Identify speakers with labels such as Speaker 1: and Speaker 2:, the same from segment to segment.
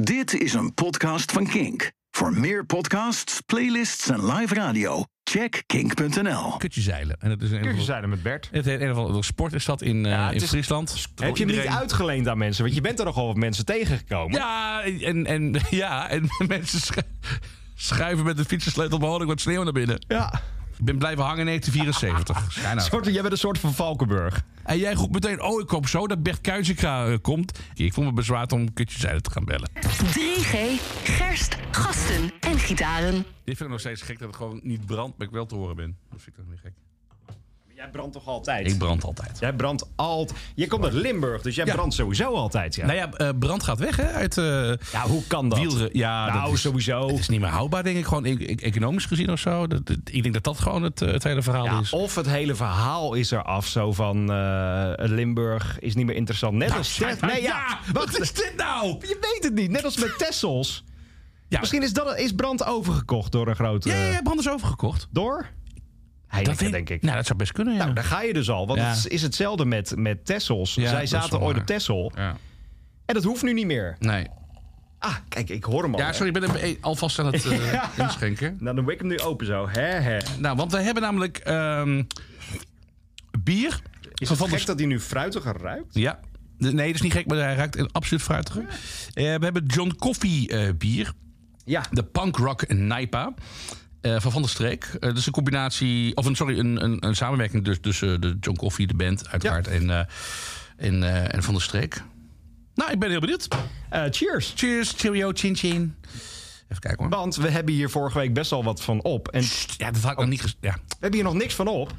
Speaker 1: Dit is een podcast van Kink. Voor meer podcasts, playlists en live radio, check kink.nl.
Speaker 2: Kutje zeilen. En dat is een
Speaker 3: Kutje zeilen met Bert.
Speaker 2: Het heet een of andere sport is dat in, eh,
Speaker 3: Ja, het
Speaker 2: in
Speaker 3: is-
Speaker 2: Friesland.
Speaker 3: Heb je hem niet
Speaker 4: iedereen-
Speaker 3: uitgeleend aan mensen? Want je bent er nogal wat mensen tegengekomen.
Speaker 2: Ja, en, en, ja, en mensen schu- schuiven met de fietsensleutel behoorlijk wat sneeuw naar binnen.
Speaker 3: ja.
Speaker 2: Ik ben blijven hangen in 1974. Schijn
Speaker 3: Een
Speaker 2: uit.
Speaker 3: soort, jij bent een soort van Valkenburg.
Speaker 2: En jij roept meteen, oh, ik hoop zo dat Bert Kuizinga eh, komt. Ik vond me bezwaard om Kutje Zeilen te gaan bellen.
Speaker 5: 3G, gerst, gasten en gitaren.
Speaker 2: Dit vind ik nog steeds gek dat het gewoon niet brandt, maar ik wel te horen ben. Dat vind ik toch niet gek.
Speaker 3: Jij brandt toch altijd?
Speaker 2: Ik brand altijd.
Speaker 3: Jij brandt altijd. Je komt uit Limburg, dus jij
Speaker 2: Ja.
Speaker 3: brandt sowieso altijd. Ja.
Speaker 2: Nou ja, eh, brand gaat weg, hè? Uit eh,
Speaker 3: ja, hoe kan dat?
Speaker 2: wielren. Ja,
Speaker 3: nou,
Speaker 2: dat is,
Speaker 3: sowieso.
Speaker 2: het is niet meer houdbaar, denk ik. Gewoon e- e- economisch gezien of zo. Dat- dat- ik denk dat dat gewoon het, eh, het hele verhaal
Speaker 3: Ja,
Speaker 2: is.
Speaker 3: of het hele verhaal is eraf, zo van eh, Limburg is niet meer interessant. Net als Tes-
Speaker 2: maar
Speaker 3: Nee, ja.
Speaker 2: Nou, wat is dit nou?
Speaker 3: Je weet het niet. Net als met Tessels.
Speaker 2: Ja,
Speaker 3: Misschien is, dat, is brand overgekocht door een grote.
Speaker 2: Ja, ja, ja, brand is overgekocht.
Speaker 3: Door?
Speaker 2: Dat
Speaker 3: Heineken, denk ik.
Speaker 2: Nou, dat zou best kunnen, ja.
Speaker 3: Nou, daar ga je dus al. Want
Speaker 2: Ja.
Speaker 3: het is hetzelfde met, met Tessels.
Speaker 2: Ja, dat
Speaker 3: Zij
Speaker 2: is
Speaker 3: zaten
Speaker 2: wel
Speaker 3: ooit
Speaker 2: waar.
Speaker 3: op Tessel.
Speaker 2: ja.
Speaker 3: En dat hoeft nu niet meer.
Speaker 2: Nee.
Speaker 3: Ah, kijk, ik hoor hem al.
Speaker 2: Ja, sorry, ik ben hem alvast aan het eh, inschenken.
Speaker 3: Nou, dan wik ik hem nu open zo. Hè, hè.
Speaker 2: Nou, want we hebben namelijk ehm, bier.
Speaker 3: Is
Speaker 2: Van
Speaker 3: het
Speaker 2: Van der
Speaker 3: gek dat hij nu fruitiger ruikt?
Speaker 2: Ja. Nee, dat is niet gek, maar hij ruikt absoluut fruitiger. Eh, we hebben John Coffee eh, bier.
Speaker 3: Ja.
Speaker 2: De Punk Rock Nijpa. eh, van Van der Streek. Eh, dat is een combinatie... Of een, sorry, een, een, een samenwerking dus, tussen de John Coffee, de band uiteraard... En, eh, en, eh, en Van der Streek. Nou, ik ben heel benieuwd.
Speaker 3: Eh, cheers.
Speaker 2: Cheers, cheerio, chin chin. Even kijken hoor.
Speaker 3: Want we hebben hier vorige week best wel wat van op. En we
Speaker 2: Ja, dat had ik nog niet... ges- Ja.
Speaker 3: hebben hier nog niks van op.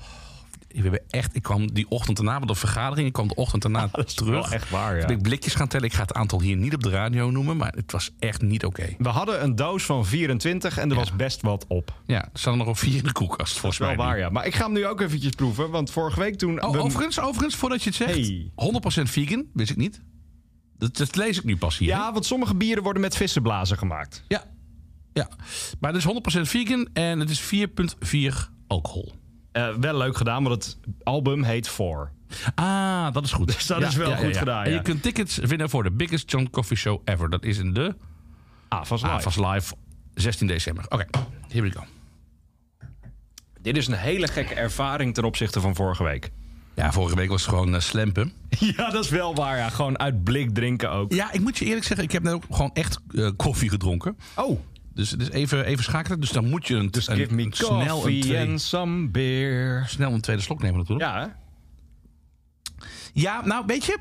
Speaker 2: We hebben echt, ik kwam die ochtend daarna, want de vergadering, ik kwam de ochtend daarna terug.
Speaker 3: wel echt waar, ja.
Speaker 2: Toen ben ik blikjes gaan tellen. Ik ga het aantal hier niet op de radio noemen, maar het was echt niet oké.
Speaker 3: We hadden een doos van 24 en er was best wat op.
Speaker 2: Ja, er staan er nog op vier in de koelkast, volgens
Speaker 3: Wel
Speaker 2: mij.
Speaker 3: waar, ja. Maar ik ga hem nu ook eventjes proeven. Want vorige week toen...
Speaker 2: Oh,
Speaker 3: we-
Speaker 2: overigens, overigens, voordat je het zegt,
Speaker 3: Hey.
Speaker 2: 100% vegan, wist ik niet. Dat, dat lees ik nu pas hier.
Speaker 3: Ja, want sommige bieren worden met vissenblazen gemaakt.
Speaker 2: Ja. ja. Maar het is 100% vegan en het is 4,4 alcohol.
Speaker 3: Eh, wel leuk gedaan, want het album heet Four.
Speaker 2: Ah, dat is goed. Dus
Speaker 3: dat is wel goed gedaan,
Speaker 2: En je
Speaker 3: ja.
Speaker 2: kunt tickets winnen voor de Biggest John Coffee Show Ever. Dat is in de
Speaker 3: Avas Live.
Speaker 2: AFAS Live, 16 december. Oké, here we go.
Speaker 3: Dit is een hele gekke ervaring ten opzichte van vorige week.
Speaker 2: Ja, vorige week was het gewoon eh, slempen.
Speaker 3: Ja, dat is wel waar. Ja. Gewoon uit blik drinken ook.
Speaker 2: Ja, ik moet je eerlijk zeggen, ik heb net ook gewoon echt eh, koffie gedronken.
Speaker 3: Oh,
Speaker 2: Dus het is even, even schakelen. Dus dan moet je een, een-
Speaker 3: give me
Speaker 2: een snel, een
Speaker 3: coffee
Speaker 2: twee-
Speaker 3: and some beer.
Speaker 2: snel een tweede slok nemen natuurlijk.
Speaker 3: Ja, hè?
Speaker 2: Ja, nou weet je,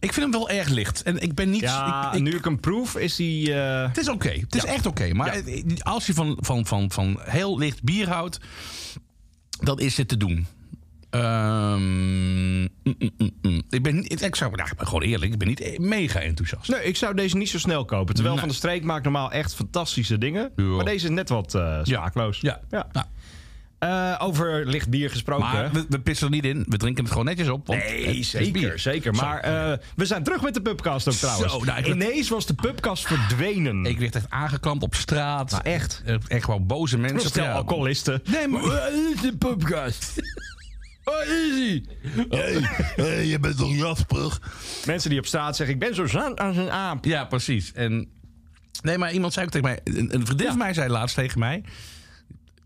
Speaker 2: ik vind hem wel erg licht. En ik ben niet...
Speaker 3: ja
Speaker 2: ik- ik-
Speaker 3: nu ik hem proef, is hij... eh,
Speaker 2: Het is oké, het is echt oké. maar eh, als je van, van, van, van heel licht bier houdt, dan is dit te doen. Ehm, mm, mm, mm, mm. Ik ben niet, ik zou, nou, ik ben gewoon eerlijk, ik ben niet mega enthousiast.
Speaker 3: Nee, ik zou deze niet zo snel kopen. Terwijl Van der Streek maakt normaal echt fantastische dingen.
Speaker 2: Ja.
Speaker 3: Maar deze is net wat eh smaakloos.
Speaker 2: Ja.
Speaker 3: Ja.
Speaker 2: Nou,
Speaker 3: Eh, over licht bier gesproken.
Speaker 2: maar we, we pissen er niet in. We drinken het gewoon netjes op. Want het
Speaker 3: Nee,
Speaker 2: is bier.
Speaker 3: zeker, zeker. Maar eh, we zijn terug met de pubcast ook trouwens.
Speaker 2: Zo, nou, ik werd-
Speaker 3: Ineens was de pubcast verdwenen.
Speaker 2: Ik werd echt aangeklampt op straat.
Speaker 3: Nou, echt.
Speaker 2: Eh, Echt gewoon boze mensen.
Speaker 3: Stel
Speaker 2: Ja.
Speaker 3: alcoholisten.
Speaker 2: Nee, maar
Speaker 3: eh,
Speaker 2: waar is de podcast? Waar is hij? hey, je bent toch Jasper?
Speaker 3: Mensen die op straat zeggen, ik ben zo zand als een aap.
Speaker 2: Ja, precies. En, nee, maar iemand zei ook tegen mij... Een, een vriendin van mij zei laatst tegen mij...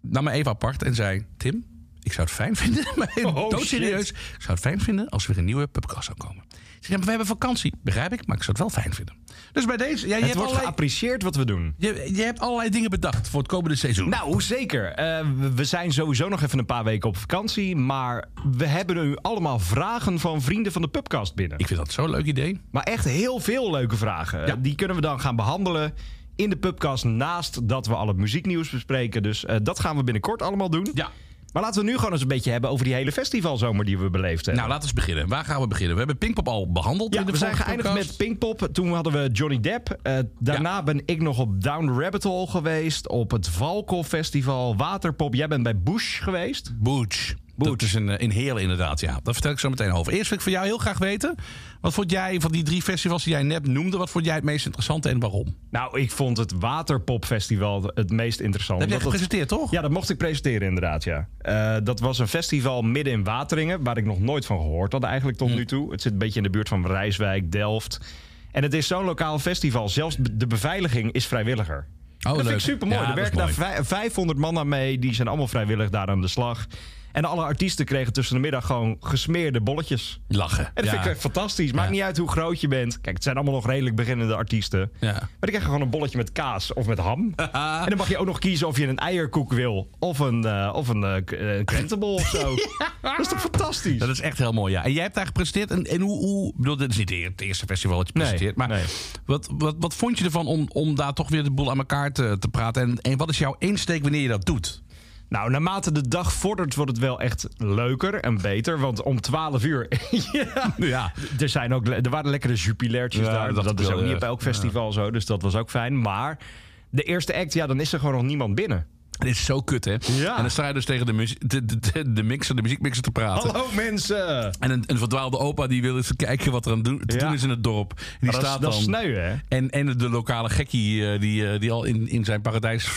Speaker 2: nam me even apart en zei... Tim, ik zou het fijn vinden... maar
Speaker 3: Oh,
Speaker 2: doodserieus, ik zou het fijn vinden... als er weer een nieuwe pubcast zou komen. Ze zei, ja, maar we hebben vakantie. Begrijp ik, maar ik zou het wel fijn vinden. Dus bij deze... Ja, je,
Speaker 3: Het
Speaker 2: hebt
Speaker 3: wordt
Speaker 2: allerlei,
Speaker 3: geapprecieerd wat we doen.
Speaker 2: je, je hebt allerlei dingen bedacht voor het komende seizoen.
Speaker 3: Nou, zeker. Eh, we- we zijn sowieso nog even een paar weken op vakantie. Maar we hebben nu allemaal vragen van vrienden van de pubcast binnen.
Speaker 2: ik vind dat zo'n leuk idee.
Speaker 3: Maar echt heel veel leuke vragen.
Speaker 2: Ja.
Speaker 3: Die kunnen we dan gaan behandelen in de pubcast. Naast dat we al het muzieknieuws bespreken. Dus eh, dat gaan we binnenkort allemaal doen.
Speaker 2: Ja.
Speaker 3: Maar laten we nu gewoon eens een beetje hebben over die hele festivalzomer die we beleefd hebben.
Speaker 2: Nou, laten we eens beginnen. Waar gaan we beginnen? We hebben Pinkpop al behandeld
Speaker 3: ja,
Speaker 2: in de
Speaker 3: we zijn
Speaker 2: vorige
Speaker 3: geëindigd
Speaker 2: podcast.
Speaker 3: met Pinkpop. Toen hadden we Johnny Depp. Eh, daarna ben ik nog op Down Rabbit Hole geweest. Op het Valko Festival. Waterpop. Jij bent bij Bush geweest.
Speaker 2: Booch. Dat is een, eh, in Heerlen inderdaad, ja. Daar vertel ik zo meteen over. Eerst wil ik van jou heel graag weten... wat vond jij van die drie festivals die jij net noemde... wat vond jij het meest interessant en waarom? Dat
Speaker 3: Nou, ik vond het Waterpop Festival het meest interessant.
Speaker 2: heb jij
Speaker 3: Omdat het-
Speaker 2: gepresenteerd, toch? Oh,
Speaker 3: Ja, dat mocht ik presenteren inderdaad, ja. Eh, dat was een festival midden in Hm. Wateringen... waar ik nog nooit van gehoord had eigenlijk tot nu toe. Het zit een beetje in de buurt van Rijswijk, Delft. En het is zo'n lokaal festival. Zelfs be- de beveiliging is vrijwilliger.
Speaker 2: Oh,
Speaker 3: dat
Speaker 2: leuk.
Speaker 3: vind ik super mooi.
Speaker 2: Ja,
Speaker 3: er
Speaker 2: dat is
Speaker 3: werken daar vij- 500 man aan mee. Die zijn allemaal vrijwillig daar aan de slag. En alle artiesten kregen tussen de middag gewoon gesmeerde bolletjes.
Speaker 2: Lachen.
Speaker 3: En dat vind ik echt fantastisch. Maakt
Speaker 2: Ja.
Speaker 3: niet uit hoe groot je bent. Kijk, het zijn allemaal nog redelijk beginnende artiesten.
Speaker 2: Ja.
Speaker 3: Maar die krijgen gewoon een bolletje met kaas of met ham. en dan mag je ook nog kiezen of je een eierkoek wil. Of een, eh, of een eh, k- eh, krentenbol of zo. Dat is toch fantastisch?
Speaker 2: Dat is echt heel mooi, ja. En jij hebt daar gepresenteerd. En, en hoe, hoe... ik bedoel, dit is niet het eerste festival dat je
Speaker 3: Nee,
Speaker 2: presenteert. maar
Speaker 3: nee.
Speaker 2: wat, wat, wat vond je ervan om, om daar toch weer de boel aan elkaar te, te praten? En, en wat is jouw insteek wanneer je dat doet?
Speaker 3: Nou, naarmate de dag vordert wordt het wel echt leuker en beter. Want om 12 uur... ja,
Speaker 2: Ja.
Speaker 3: Er, zijn ook, le- er waren lekkere jupilairtjes
Speaker 2: Ja,
Speaker 3: daar.
Speaker 2: dat
Speaker 3: Dat,
Speaker 2: dacht ik
Speaker 3: is
Speaker 2: wel,
Speaker 3: ook
Speaker 2: ja.
Speaker 3: niet bij elk festival zo. Dus dat was ook fijn. Maar de eerste act, ja, dan is er gewoon nog niemand binnen.
Speaker 2: Dit is zo kut, hè?
Speaker 3: Ja.
Speaker 2: En dan sta je dus tegen de, muzie- de, de, de, de mixer, de muziekmixer te praten.
Speaker 3: Hallo mensen!
Speaker 2: En een, een verdwaalde opa die wil eens kijken wat er aan doen, te
Speaker 3: Ja.
Speaker 2: doen is in het dorp. En Die
Speaker 3: Maar dat is-
Speaker 2: staat
Speaker 3: dat is
Speaker 2: dan.
Speaker 3: sneu, hè?
Speaker 2: En, en de lokale gekkie eh, die, eh, die al in, in zijn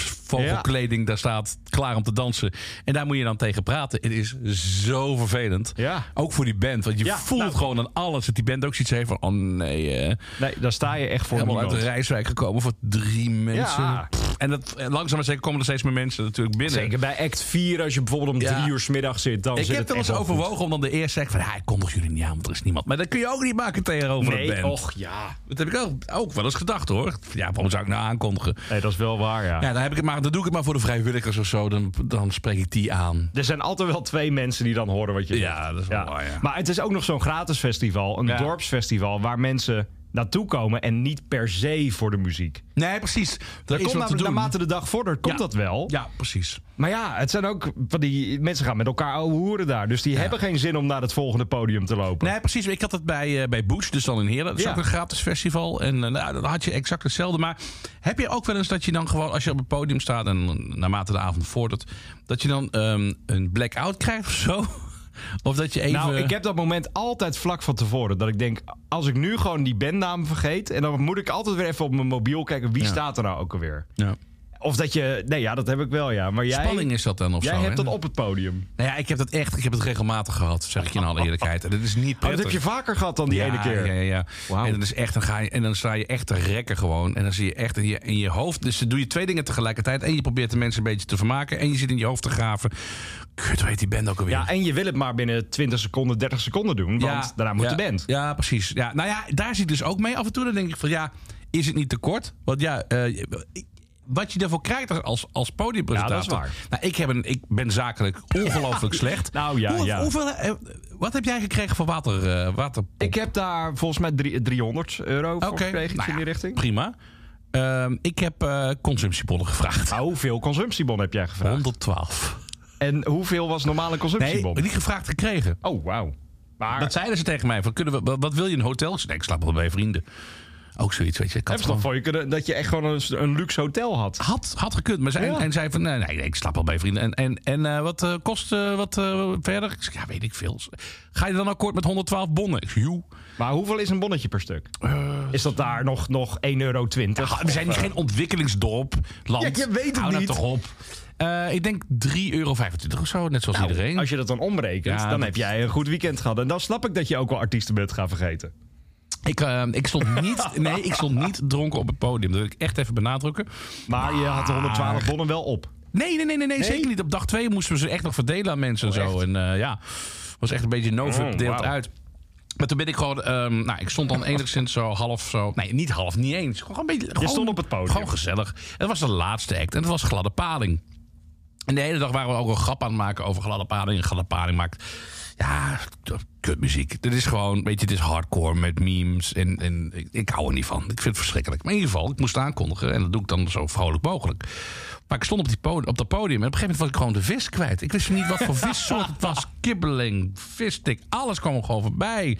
Speaker 2: paradijsvogelkleding daar staat, klaar om te dansen. En daar moet je dan tegen praten. Het is zo vervelend.
Speaker 3: Ja.
Speaker 2: Ook voor die band. Want je
Speaker 3: Ja,
Speaker 2: voelt
Speaker 3: nou.
Speaker 2: gewoon aan alles dat die band ook zoiets heeft van... oh nee, eh
Speaker 3: Nee, daar sta je echt voor
Speaker 2: helemaal uit de
Speaker 3: niemand.
Speaker 2: Rijswijk gekomen voor drie mensen.
Speaker 3: Ja.
Speaker 2: Pff, En dat, en langzaam maar zeker komen er steeds meer mensen natuurlijk binnen.
Speaker 3: Zeker bij act 4, als je bijvoorbeeld om
Speaker 2: Ja.
Speaker 3: 3 uur 's middag zit, dan
Speaker 2: Ik
Speaker 3: zit
Speaker 2: heb
Speaker 3: het
Speaker 2: wel eens
Speaker 3: echt wel
Speaker 2: overwogen om dan de eerste te zeggen van... Ja, ik kondig jullie niet aan, want er is niemand. Maar dat kun je ook niet maken
Speaker 3: goed.
Speaker 2: tegenover een
Speaker 3: Nee,
Speaker 2: band.
Speaker 3: och ja.
Speaker 2: Dat heb ik ook, ook wel eens gedacht hoor. Ja, waarom zou ik nou aankondigen?
Speaker 3: Nee, dat is wel waar, ja.
Speaker 2: Ja, dan, heb ik het maar, dan doe ik het maar voor de vrijwilligers of zo. Dan, dan spreek ik die aan.
Speaker 3: Er zijn altijd wel twee mensen die dan horen wat je
Speaker 2: Ja,
Speaker 3: zegt.
Speaker 2: dat is wel waar, ja.
Speaker 3: Maar het is ook nog zo'n gratis festival, een
Speaker 2: Ja.
Speaker 3: dorpsfestival, waar mensen naartoe komen en niet per se voor de muziek.
Speaker 2: Nee, precies. Er
Speaker 3: Dat
Speaker 2: is
Speaker 3: komt
Speaker 2: wat te
Speaker 3: namelijk
Speaker 2: doen.
Speaker 3: naarmate de dag vordert, komt
Speaker 2: Ja.
Speaker 3: dat wel.
Speaker 2: Ja, precies.
Speaker 3: Maar ja, het zijn ook van die mensen gaan met elkaar ouwe hoeren daar, dus die hebben geen zin om naar het volgende podium te lopen.
Speaker 2: Nee, precies. Ik had het bij, eh, bij Bush, dus dan in Heerlen. Dat is
Speaker 3: Ja.
Speaker 2: ook een gratis festival. En eh, nou, dan had je exact hetzelfde. Maar heb je ook wel eens dat je dan gewoon, als je op het podium staat... en naarmate de avond vordert... dat je dan ehm, een blackout krijgt of zo? Of dat je even...
Speaker 3: Nou, ik heb dat moment altijd vlak van tevoren. Dat ik denk, als ik nu gewoon die bandnaam vergeet... en dan moet ik altijd weer even op mijn mobiel kijken... wie staat er nou ook alweer?
Speaker 2: Ja.
Speaker 3: Of dat je... Nee, ja, dat heb ik wel, ja. Maar jij,
Speaker 2: Spanning is dat dan of
Speaker 3: jij
Speaker 2: zo.
Speaker 3: hebt
Speaker 2: hè?
Speaker 3: dat op het podium.
Speaker 2: Nou ja, ik heb dat echt, ik heb het regelmatig gehad, zeg ik je in alle eerlijkheid. En dat is niet
Speaker 3: Oh,
Speaker 2: prettig.
Speaker 3: dat heb je vaker gehad dan die
Speaker 2: ja,
Speaker 3: ene keer.
Speaker 2: Ja, ja, ja.
Speaker 3: Wauw.
Speaker 2: En, dat is echt, dan ga je, en dan sta je echt te rekken gewoon. En dan zie je echt in je, in je hoofd. Dus dan doe je twee dingen tegelijkertijd. En je probeert de mensen een beetje te vermaken. En je zit in je hoofd te graven. Kut, weet die band ook alweer.
Speaker 3: Ja, en je wil het maar binnen 20 seconden, 30 seconden doen. Want
Speaker 2: Ja,
Speaker 3: daarna moet
Speaker 2: ja,
Speaker 3: de band.
Speaker 2: Ja, precies. Ja, nou ja, daar zit dus ook mee. Af en toe dan denk ik van ja, is het niet te kort? Want ja, eh, wat je daarvoor krijgt als, als podiumpresentator.
Speaker 3: Ja, dat is waar.
Speaker 2: Nou, ik, heb een, ik ben zakelijk ongelooflijk slecht.
Speaker 3: Nou ja, ja.
Speaker 2: Hoeveel, eh, wat heb jij gekregen voor water? eh water
Speaker 3: Ik heb daar volgens mij drie- 300 euro voor
Speaker 2: Oké.
Speaker 3: gekregen. iets
Speaker 2: Nou
Speaker 3: in die
Speaker 2: ja,
Speaker 3: richting.
Speaker 2: Prima. Ehm, ik heb eh consumptiebonnen gevraagd.
Speaker 3: Nou, hoeveel consumptiebon heb jij gevraagd?
Speaker 2: 112.
Speaker 3: En hoeveel was normale
Speaker 2: Nou, Nee,
Speaker 3: consumptiebon?
Speaker 2: niet gevraagd gekregen.
Speaker 3: Oh, wauw. Maar
Speaker 2: Dat zeiden ze tegen mij. Van, kunnen we, wa- wat wil je, een hotel? Ik zei, nee, ik slaap wel bij vrienden. Ook zoiets, weet je. Ik had,
Speaker 3: Heb ze
Speaker 2: gewoon-
Speaker 3: nog voor je kunnen dat je echt gewoon een, een luxe hotel had?
Speaker 2: had, had gekund. Maar zij,
Speaker 3: Ja.
Speaker 2: En zei van, nee, nee, nee, ik slaap wel bij vrienden. En, en, en eh, wat eh, kost eh, wat eh, verder? Ik zei, ja, weet ik veel. Ga je dan akkoord met 112 bonnen? Ik zei, joe.
Speaker 3: Maar hoeveel is een bonnetje per stuk?
Speaker 2: Eh,
Speaker 3: is dat daar nog, nog 1,20 euro?
Speaker 2: Ah, we zijn geen ontwikkelingsdorp, land.
Speaker 3: Ja, je weet het
Speaker 2: Hou nou
Speaker 3: niet.
Speaker 2: toch op. Eh, ik denk 3,25 euro of zo, net zoals iedereen.
Speaker 3: Als je dat dan omrekent,
Speaker 2: Ja,
Speaker 3: dan
Speaker 2: dat-
Speaker 3: heb jij een goed weekend gehad. En dan snap ik dat je ook wel artiesten bent gaan vergeten.
Speaker 2: Ik, eh, ik, stond niet, nee, ik stond niet dronken op het podium. Dat wil ik echt even benadrukken.
Speaker 3: Maar je had de 112 bonnen wel op.
Speaker 2: Nee, nee, nee, nee, nee, zeker niet. Op dag twee moesten we ze echt nog verdelen aan mensen en zo. En eh, ja, was echt een beetje no-fuck
Speaker 3: Oh,
Speaker 2: deelt
Speaker 3: wauw.
Speaker 2: uit. Maar toen ben ik gewoon, ehm, nou, ik stond dan enigszins zo half zo. Nee, niet half, niet eens. Gewoon een beetje. gewoon-
Speaker 3: stond op het podium.
Speaker 2: Gewoon gezellig. Het was de laatste act en het was gladde paling. En de hele dag waren we ook een grap aan het maken over gladde paling. En gladde paling maakt. Ja, kutmuziek. Dit is gewoon, weet je, dit is hardcore met memes. En, en ik, ik hou er niet van. Ik vind het verschrikkelijk. Maar in ieder geval, ik moest aankondigen. En dat doe ik dan zo vrolijk mogelijk. Maar ik stond op, die po- op dat podium. En op een gegeven moment was ik gewoon de vis kwijt. Ik wist niet wat voor vissoort het was. Kibbeling, vistik, alles kwam gewoon voorbij.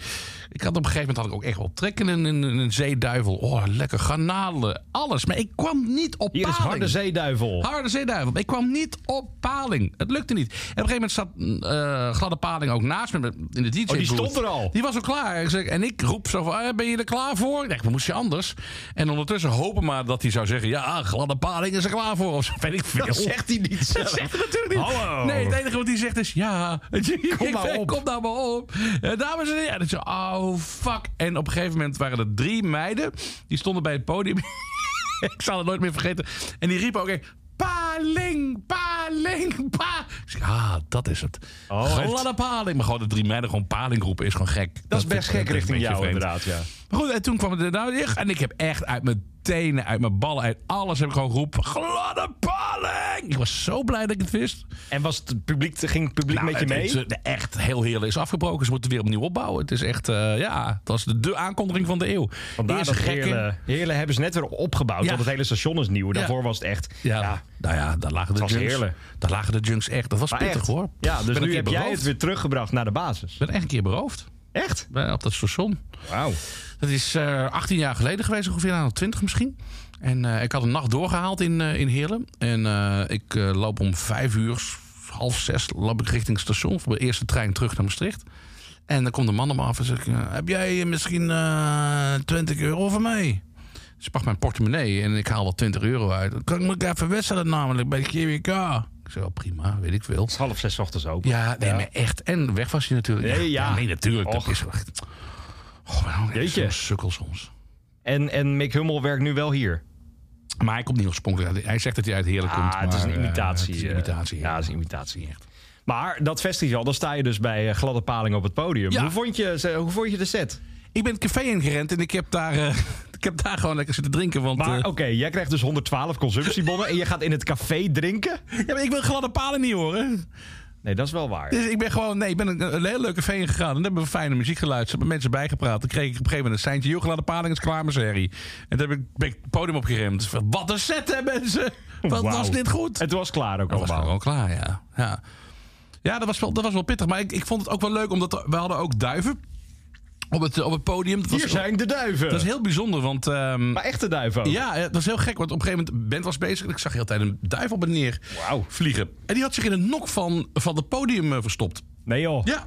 Speaker 2: Ik had op een gegeven moment had ik ook echt wel trekken in een, een zeeduivel. Oh, lekker garnalen, alles. Maar ik kwam niet op
Speaker 3: Hier is
Speaker 2: paling.
Speaker 3: Harde Zeeduivel.
Speaker 2: Harde zeeduivel. Ik kwam niet op paling. Het lukte niet. En op een gegeven moment zat eh, Gladde Paling ook naast me met- in de DJ-booth. Shit
Speaker 3: Oh, die
Speaker 2: Brood.
Speaker 3: stond er al.
Speaker 2: Die was al klaar. Ik zeg, en ik roep zo van, "Ah, ben je er klaar voor? Ik denk, wat moest je anders? En ondertussen hopen maar dat hij zou zeggen... ja, gladde paling is er klaar voor. Of zo, weet ik veel.
Speaker 3: Dat zegt hij niet
Speaker 2: Dat
Speaker 3: zelf.
Speaker 2: zegt hij natuurlijk niet.
Speaker 3: Hallo.
Speaker 2: Nee, het enige wat hij zegt is ja. Kom
Speaker 3: nou op.
Speaker 2: Kom nou maar op. Eh, dames en heren. En ik zo, oh fuck. En op een gegeven moment waren er drie meiden. Die stonden bij het podium. ik zal het nooit meer vergeten. En die riepen ook echt, paling, paling, pa. Ik zeg, ah, dat is het.
Speaker 3: Oh,
Speaker 2: Gladde paling. Maar gewoon de drie meiden gewoon paling roepen is gewoon gek.
Speaker 3: Dat is best
Speaker 2: vind
Speaker 3: gek
Speaker 2: ik een
Speaker 3: richting
Speaker 2: beetje
Speaker 3: jou,
Speaker 2: vreemd.
Speaker 3: inderdaad. Ja.
Speaker 2: Maar goed, en toen kwam het er nou dicht. En ik heb echt uit mijn tenen, uit mijn ballen, uit alles heb ik gewoon geroepen. Gladde paling! Ik was zo blij dat ik het wist.
Speaker 3: En was het publiek, ging het publiek
Speaker 2: Nou,
Speaker 3: met je
Speaker 2: het-
Speaker 3: mee?
Speaker 2: het- de- echt heel heerlijk is afgebroken. Ze moeten weer opnieuw opbouwen. Het is echt, eh, ja, het was de, de aankondiging van de eeuw.
Speaker 3: Vandaar
Speaker 2: Eerst
Speaker 3: dat
Speaker 2: gekken.
Speaker 3: Heerlen, Heerlen hebben ze net weer opgebouwd.
Speaker 2: Ja.
Speaker 3: Want het hele station is nieuw. Daarvoor was het echt...
Speaker 2: Ja, nou ja, daar lagen de
Speaker 3: was
Speaker 2: junks.
Speaker 3: heerlijk.
Speaker 2: Daar lagen de junks echt. Dat was
Speaker 3: Maar
Speaker 2: pittig
Speaker 3: echt.
Speaker 2: hoor.
Speaker 3: Ja,
Speaker 2: Ben
Speaker 3: dus
Speaker 2: een
Speaker 3: nu
Speaker 2: keer
Speaker 3: heb jij
Speaker 2: beroofd.
Speaker 3: het weer teruggebracht naar de basis.
Speaker 2: Ik ben echt een keer beroofd.
Speaker 3: Echt?
Speaker 2: Bij- Op dat station.
Speaker 3: Wauw.
Speaker 2: Dat is eh 18 jaar geleden geweest, ongeveer aan 20 misschien. En eh, ik had een nacht doorgehaald in, eh, in Heerlen. En eh, ik eh, loop om vijf uur, half zes, loop ik richting het station. Voor de eerste trein terug naar Maastricht. En dan komt een man op me af en zegt... eh, heb jij eh, misschien eh 20 euro voor mij? Ze pakt mijn portemonnee en ik haal wel 20 euro uit. Dan kan ik moet ik even wedstrijden namelijk bij de GWK. Ik zeg, oh, prima, weet ik veel.
Speaker 3: Het is half zes ochtends ook.
Speaker 2: Ja, nee, maar echt. En weg was hij natuurlijk.
Speaker 3: Nee, ja.
Speaker 2: nee, natuurlijk. Dat
Speaker 3: Och.
Speaker 2: is echt... Oh, maar dan
Speaker 3: Jeetje.
Speaker 2: zo'n sukkel soms.
Speaker 3: En, en Mick Hummel werkt nu wel hier.
Speaker 2: Maar hij komt niet oorspronkelijk uit. Hij zegt dat hij uit Heerlijk komt.
Speaker 3: Ah, het is
Speaker 2: maar,
Speaker 3: een
Speaker 2: eh,
Speaker 3: imitatie.
Speaker 2: het is een
Speaker 3: eh.
Speaker 2: imitatie.
Speaker 3: Ja, het is een imitatie. Echt. Maar dat festival, dan sta je dus bij eh, gladde paling op het podium.
Speaker 2: Ja.
Speaker 3: Hoe, vond je, ze- hoe vond je de set?
Speaker 2: Ik ben het café ingerend en ik heb daar, eh, ik heb daar gewoon lekker zitten drinken. Want,
Speaker 3: Maar
Speaker 2: eh,
Speaker 3: oké, jij krijgt dus 112 consumptiebonnen en je gaat in het café drinken?
Speaker 2: ja, maar ik wil gladde palen niet horen.
Speaker 3: Nee, dat is wel waar.
Speaker 2: Dus ik ben gewoon, nee, ik ben een, een heel leuk café ingegaan. En daar hebben we fijne muziek geluisterd. Hebben mensen bijgepraat. Dan kreeg ik op een gegeven moment een seintje. Joh, gladde paling is klaar met zijn herrie. En toen heb ik, ben ik het podium opgeremd. Wat een set hè mensen. Wat
Speaker 3: Wauw.
Speaker 2: was dit goed.
Speaker 3: Het was klaar ook
Speaker 2: Dat was
Speaker 3: allemaal.
Speaker 2: gewoon klaar, ja. Ja, ja dat, was wel, dat was wel pittig. Maar ik, ik vond het ook wel leuk, omdat er- we hadden ook duiven op het, op het podium. Dat
Speaker 3: Hier
Speaker 2: was,
Speaker 3: zijn de duiven.
Speaker 2: Dat is heel bijzonder, want... ehm,
Speaker 3: Maar echte duiven ook.
Speaker 2: ja, eh, dat is heel gek, want op een gegeven moment... Bent was bezig en ik zag heel de tijd een duif op en neer
Speaker 3: Wauw.
Speaker 2: vliegen. En die had zich in een nok van, van het podium eh, verstopt.
Speaker 3: Nee joh.
Speaker 2: Ja,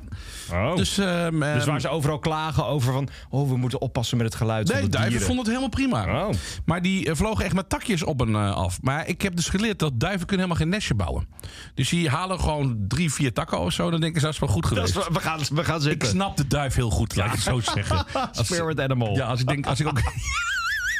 Speaker 3: Oh. Dus,
Speaker 2: dus... ehm, ehm,
Speaker 3: waar ze overal klagen over van... oh, we moeten oppassen met het geluid van
Speaker 2: Nee,
Speaker 3: de
Speaker 2: duiven
Speaker 3: dieren.
Speaker 2: vonden het helemaal prima.
Speaker 3: Oh.
Speaker 2: Maar die eh, vlogen echt met takjes op en eh, af. Maar ik heb dus geleerd dat duiven kunnen helemaal geen nestje bouwen. Dus die halen gewoon drie, vier takken of zo. Dan denken ze, dat is wel goed
Speaker 3: Dat
Speaker 2: geweest.
Speaker 3: is wa- we, gaan, we gaan
Speaker 2: Ik
Speaker 3: zitten.
Speaker 2: snap de duif heel goed, laat ik het zo zeggen. Als-
Speaker 3: Spirit animal.
Speaker 2: ja, als ik denk, als ik ook.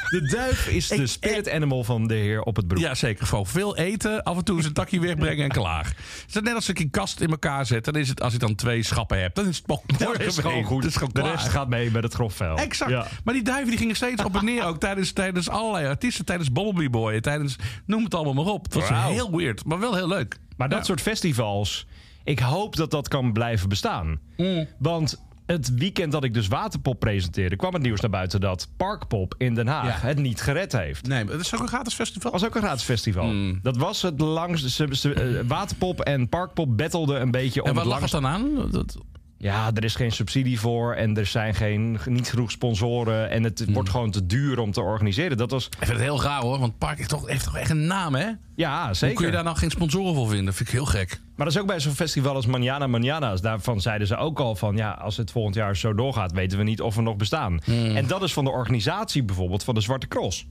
Speaker 3: De duif is de spirit animal van de heer op het broek.
Speaker 2: Ja, zeker. Gewoon veel eten, af en toe eens een takje wegbrengen en klaar. Het is net als ik een kast in elkaar zet. Dan is het, als ik dan twee schappen heb, dan is het mo- mooi
Speaker 3: Dat is gewoon
Speaker 2: geweest.
Speaker 3: goed.
Speaker 2: Het is gewoon
Speaker 3: de
Speaker 2: klaar.
Speaker 3: rest gaat mee met het grofvel.
Speaker 2: Exact.
Speaker 3: Ja.
Speaker 2: Maar die duiven die gingen steeds op en neer. Ook tijdens, tijdens allerlei artiesten. Tijdens Bobbleby Boy. Tijdens, noem het allemaal maar op. Het was
Speaker 3: Wauw.
Speaker 2: heel weird. Maar wel heel leuk.
Speaker 3: Maar dat soort festivals, ik hoop dat dat kan blijven bestaan.
Speaker 2: Mm.
Speaker 3: Want het weekend dat ik dus Waterpop presenteerde, kwam het nieuws naar buiten dat Parkpop in Den Haag
Speaker 2: Ja.
Speaker 3: het niet gered heeft.
Speaker 2: Nee, maar het is ook een gratis festival.
Speaker 3: Dat was ook een gratis festival.
Speaker 2: Hmm.
Speaker 3: Dat was het langste. ze- ze- eh, Waterpop en Parkpop bettelden een beetje om
Speaker 2: en wat
Speaker 3: het
Speaker 2: lag het
Speaker 3: langst.
Speaker 2: dan aan? Dat,
Speaker 3: Ja, er is geen subsidie voor en er zijn geen, niet genoeg sponsoren. En
Speaker 2: Hmm.
Speaker 3: het wordt gewoon te duur om te organiseren. Dat was.
Speaker 2: ik vind het heel raar hoor, want het park heeft toch, heeft toch echt een naam hè?
Speaker 3: Ja, zeker.
Speaker 2: Hoe kun je daar nou geen sponsoren voor vinden? vind ik heel gek.
Speaker 3: Maar dat is ook bij zo'n festival als Manjana Manjana's. Daarvan zeiden ze ook al van... ja, als het volgend jaar zo doorgaat... weten we niet of we nog bestaan.
Speaker 2: Hmm.
Speaker 3: En dat is van de organisatie bijvoorbeeld van de Zwarte Cross.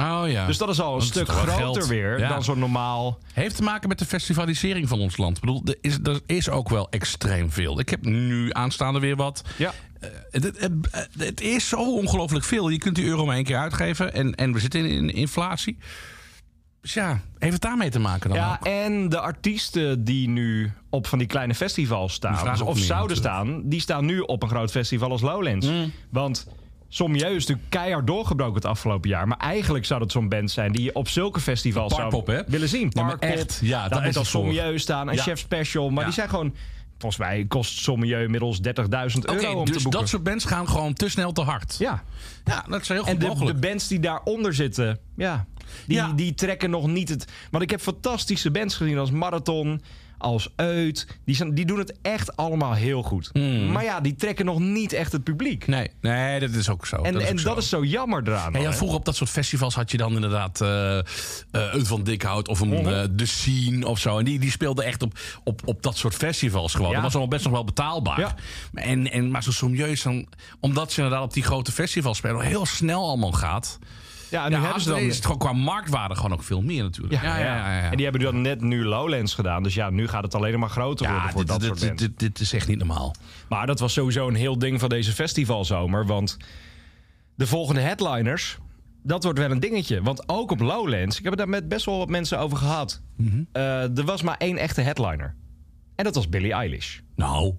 Speaker 2: Oh ja.
Speaker 3: Dus dat is al een
Speaker 2: Want het
Speaker 3: stuk
Speaker 2: is toch wel
Speaker 3: groter
Speaker 2: geld.
Speaker 3: weer
Speaker 2: Ja.
Speaker 3: dan zo'n normaal...
Speaker 2: Heeft te maken met de festivalisering van ons land. Ik bedoel, er is, er is ook wel extreem veel. Ik heb nu aanstaande weer wat.
Speaker 3: Ja.
Speaker 2: Eh, het, het- het- het is zo ongelooflijk veel. Je kunt die euro maar één keer uitgeven. En, en we zitten in, in inflatie. Dus ja, heeft het daarmee te maken dan
Speaker 3: Ja,
Speaker 2: ook?
Speaker 3: en de artiesten die nu op van die kleine festivals
Speaker 2: Die
Speaker 3: staan...
Speaker 2: vragen ook
Speaker 3: of
Speaker 2: meer
Speaker 3: zouden
Speaker 2: natuurlijk. Mm.
Speaker 3: staan, die staan nu op een groot festival als Lowlands. Want... Sommieu is natuurlijk keihard doorgebroken het afgelopen jaar. Maar eigenlijk zou dat zo'n band zijn die je op zulke festivals zou
Speaker 2: Parkpop, hè?
Speaker 3: willen zien.
Speaker 2: Ja, maar
Speaker 3: Parkpop,
Speaker 2: echt, ja, daar
Speaker 3: daar
Speaker 2: is
Speaker 3: moet dan
Speaker 2: het voor.
Speaker 3: Sommieu staan en
Speaker 2: Ja.
Speaker 3: Chef Special. Maar
Speaker 2: Ja.
Speaker 3: die zijn gewoon... Volgens mij kost Sommieu inmiddels 30.000 euro
Speaker 2: Oké,
Speaker 3: om te
Speaker 2: dus
Speaker 3: boeken.
Speaker 2: dat soort bands gaan gewoon te snel te hard.
Speaker 3: Ja.
Speaker 2: Ja, dat is heel goed
Speaker 3: En de, de
Speaker 2: mogelijk.
Speaker 3: bands die daaronder zitten, ja, die,
Speaker 2: Ja.
Speaker 3: die trekken nog niet het... Want ik heb fantastische bands gezien als Marathon, als Uit. Die, zijn, die doen het echt allemaal heel goed. Maar ja, die trekken nog niet echt het publiek.
Speaker 2: Hmm. Nee, nee, dat is ook zo.
Speaker 3: en dat,
Speaker 2: ook
Speaker 3: en
Speaker 2: zo.
Speaker 3: dat is zo jammer eraan.
Speaker 2: Ja,
Speaker 3: dan,
Speaker 2: ja,
Speaker 3: hè.
Speaker 2: vroeger op dat soort festivals had je dan inderdaad eh, eh, een Van Dikhout of
Speaker 3: Mhm.
Speaker 2: een eh, The Scene of zo. En die, die speelden echt op, op, op dat soort festivals gewoon.
Speaker 3: Ja.
Speaker 2: Dat was allemaal best nog wel betaalbaar.
Speaker 3: Ja.
Speaker 2: En, en, maar zo somieus, dan, omdat ze inderdaad op die grote festivals spelen, heel snel allemaal gaat.
Speaker 3: ja, en
Speaker 2: En
Speaker 3: nu
Speaker 2: ja,
Speaker 3: hebben ze
Speaker 2: dan
Speaker 3: dan...
Speaker 2: is het gewoon qua marktwaarde gewoon ook veel meer natuurlijk. Ja, ja, ja. ja,
Speaker 3: En die hebben dan net nu Lowlands gedaan. Dus ja, nu gaat het alleen maar groter
Speaker 2: Ja,
Speaker 3: worden voor
Speaker 2: dit,
Speaker 3: dat
Speaker 2: dit-
Speaker 3: soort
Speaker 2: dit,
Speaker 3: mensen.
Speaker 2: dit, dit is echt niet normaal.
Speaker 3: Maar dat was sowieso een heel ding van deze festivalzomer. Want de volgende headliners, dat wordt wel een dingetje. Want ook op Lowlands, ik heb het daar met best wel wat mensen over gehad.
Speaker 2: Mhm.
Speaker 3: eh, er was maar één echte headliner. En dat was Billie Eilish.
Speaker 2: Nou,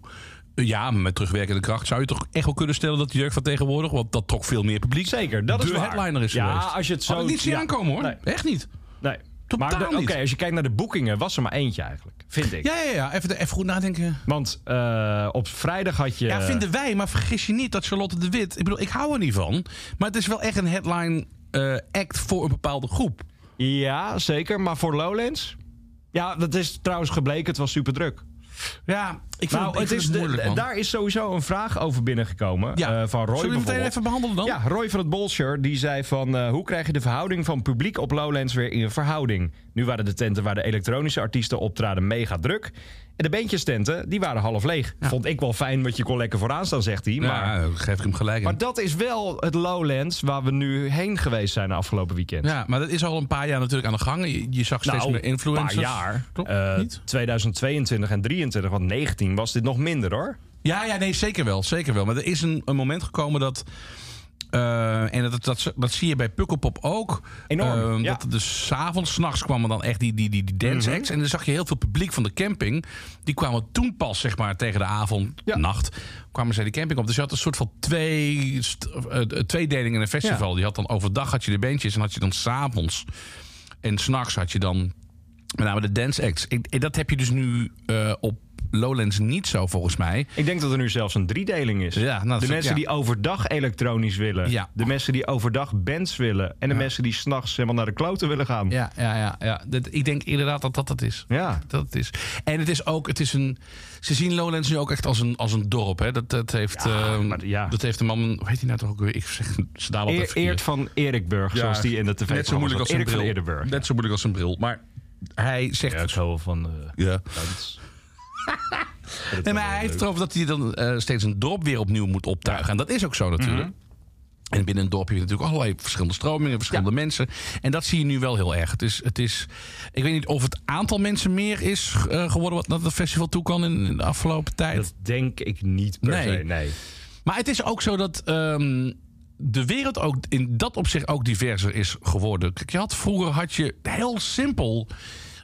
Speaker 2: ja, met terugwerkende kracht zou je toch echt wel kunnen stellen dat de jeugd van tegenwoordig, want dat trok veel meer publiek.
Speaker 3: Zeker, dat
Speaker 2: de
Speaker 3: is waar.
Speaker 2: headliner is
Speaker 3: Ja,
Speaker 2: geweest.
Speaker 3: als je het zo-
Speaker 2: Had ik niet zien
Speaker 3: ja.
Speaker 2: aankomen hoor.
Speaker 3: Nee.
Speaker 2: Echt niet.
Speaker 3: Nee,
Speaker 2: Totaal
Speaker 3: maar de-
Speaker 2: niet.
Speaker 3: oké, als je kijkt naar de boekingen, was er maar eentje eigenlijk. Vind ik.
Speaker 2: Ja, ja, ja. Even, even goed nadenken.
Speaker 3: Want eh, op vrijdag had je.
Speaker 2: Ja, vinden wij, maar vergis je niet dat Charlotte de Wit... Ik bedoel, ik hou er niet van. Maar het is wel echt een headline eh, act voor een bepaalde groep.
Speaker 3: Ja, zeker. Maar voor Lowlands? Ja, dat is trouwens gebleken. Het was super druk.
Speaker 2: Ja, ik vind,
Speaker 3: Nou,
Speaker 2: ik
Speaker 3: het
Speaker 2: vind
Speaker 3: is de-
Speaker 2: moeilijk, man.
Speaker 3: daar is sowieso een vraag over binnengekomen
Speaker 2: Ja.
Speaker 3: eh,
Speaker 2: Zullen we
Speaker 3: van Roy
Speaker 2: die meteen
Speaker 3: bijvoorbeeld.
Speaker 2: even behandelen dan?
Speaker 3: Ja, Roy van het Bolscher die zei van... eh, hoe krijg je de verhouding van publiek op Lowlands weer in verhouding? Nu waren de tenten waar de elektronische artiesten optraden mega druk. En de bandjestenten, die waren half leeg. Vond ik wel fijn, want je kon lekker vooraan staan, zegt hij. Maar,
Speaker 2: Ja, daar geef ik hem gelijk in.
Speaker 3: maar dat is wel het Lowlands waar we nu heen geweest zijn de afgelopen weekend. Nou,
Speaker 2: Ja, maar dat is al een paar jaar natuurlijk aan de gang. Je, je zag steeds meer influencers.
Speaker 3: een paar jaar.
Speaker 2: Toch?
Speaker 3: Eh,
Speaker 2: Niet?
Speaker 3: 2022 en 23, want 19 was dit nog minder hoor.
Speaker 2: Ja, ja, nee, zeker wel. Zeker wel. Maar er is een, een moment gekomen dat... eh, en dat, dat, dat zie je bij Pukkelpop ook.
Speaker 3: Enorm,
Speaker 2: Eh,
Speaker 3: ja. Mhm.
Speaker 2: Dat er dus 's avonds, 's nachts kwamen dan echt die, die, die, die dance acts. En dan zag je heel veel publiek van de camping. Die kwamen toen pas, zeg maar, tegen de avond,
Speaker 3: Ja.
Speaker 2: nacht... kwamen zij de camping op. Dus je had een soort van twee, st- eh, eh, tweedeling in een festival. Die had dan overdag had je de bandjes en had je dan s'avonds... En s'nachts had je dan met name de dance acts. Ik, ik- dat heb je dus nu eh, op Lowlands niet zo, volgens mij.
Speaker 3: Ik denk dat er nu zelfs een driedeling is.
Speaker 2: Ja, nou, dat
Speaker 3: de
Speaker 2: is ook-
Speaker 3: mensen
Speaker 2: ja.
Speaker 3: die overdag elektronisch willen.
Speaker 2: Ja.
Speaker 3: De mensen die overdag bands willen. En de mensen die s'nachts helemaal naar de kloten willen gaan.
Speaker 2: Ja, ja, ja. ja. Dat, ik denk inderdaad dat dat het is.
Speaker 3: Ja.
Speaker 2: Dat het is. En het is ook, het is een. Ze zien Lowlands nu ook echt als een, als een dorp. Hè? Dat, dat, heeft,
Speaker 3: Ja,
Speaker 2: ehm,
Speaker 3: maar ja.
Speaker 2: dat heeft de man. Hoe heet hij nou toch ook weer? Ik zeg ze daar
Speaker 3: Eer, eerd van Erikburg, zoals die in de tv
Speaker 2: Net zo moeilijk als zijn
Speaker 3: Erik van
Speaker 2: bril.
Speaker 3: Eerdenburg.
Speaker 2: Net zo moeilijk als een bril. Maar hij zegt.
Speaker 3: Ja, ik hou wel van... eh,
Speaker 2: ja.
Speaker 3: dans.
Speaker 2: Nee, maar hij heeft erover dat hij dan eh, steeds een dorp weer opnieuw moet optuigen. En dat is ook zo natuurlijk.
Speaker 3: Mhm.
Speaker 2: En binnen een dorp heb je natuurlijk allerlei verschillende stromingen, verschillende mensen. En dat zie je nu wel heel erg. Het is, het is, ik weet niet of het aantal mensen meer is eh, geworden wat naar het festival toe kan in, in de afgelopen tijd.
Speaker 3: Dat denk ik niet per
Speaker 2: Nee.
Speaker 3: se, nee.
Speaker 2: Maar het is ook zo dat ehm, de wereld ook in dat opzicht ook diverser is geworden. Kijk, je had, vroeger had je heel simpel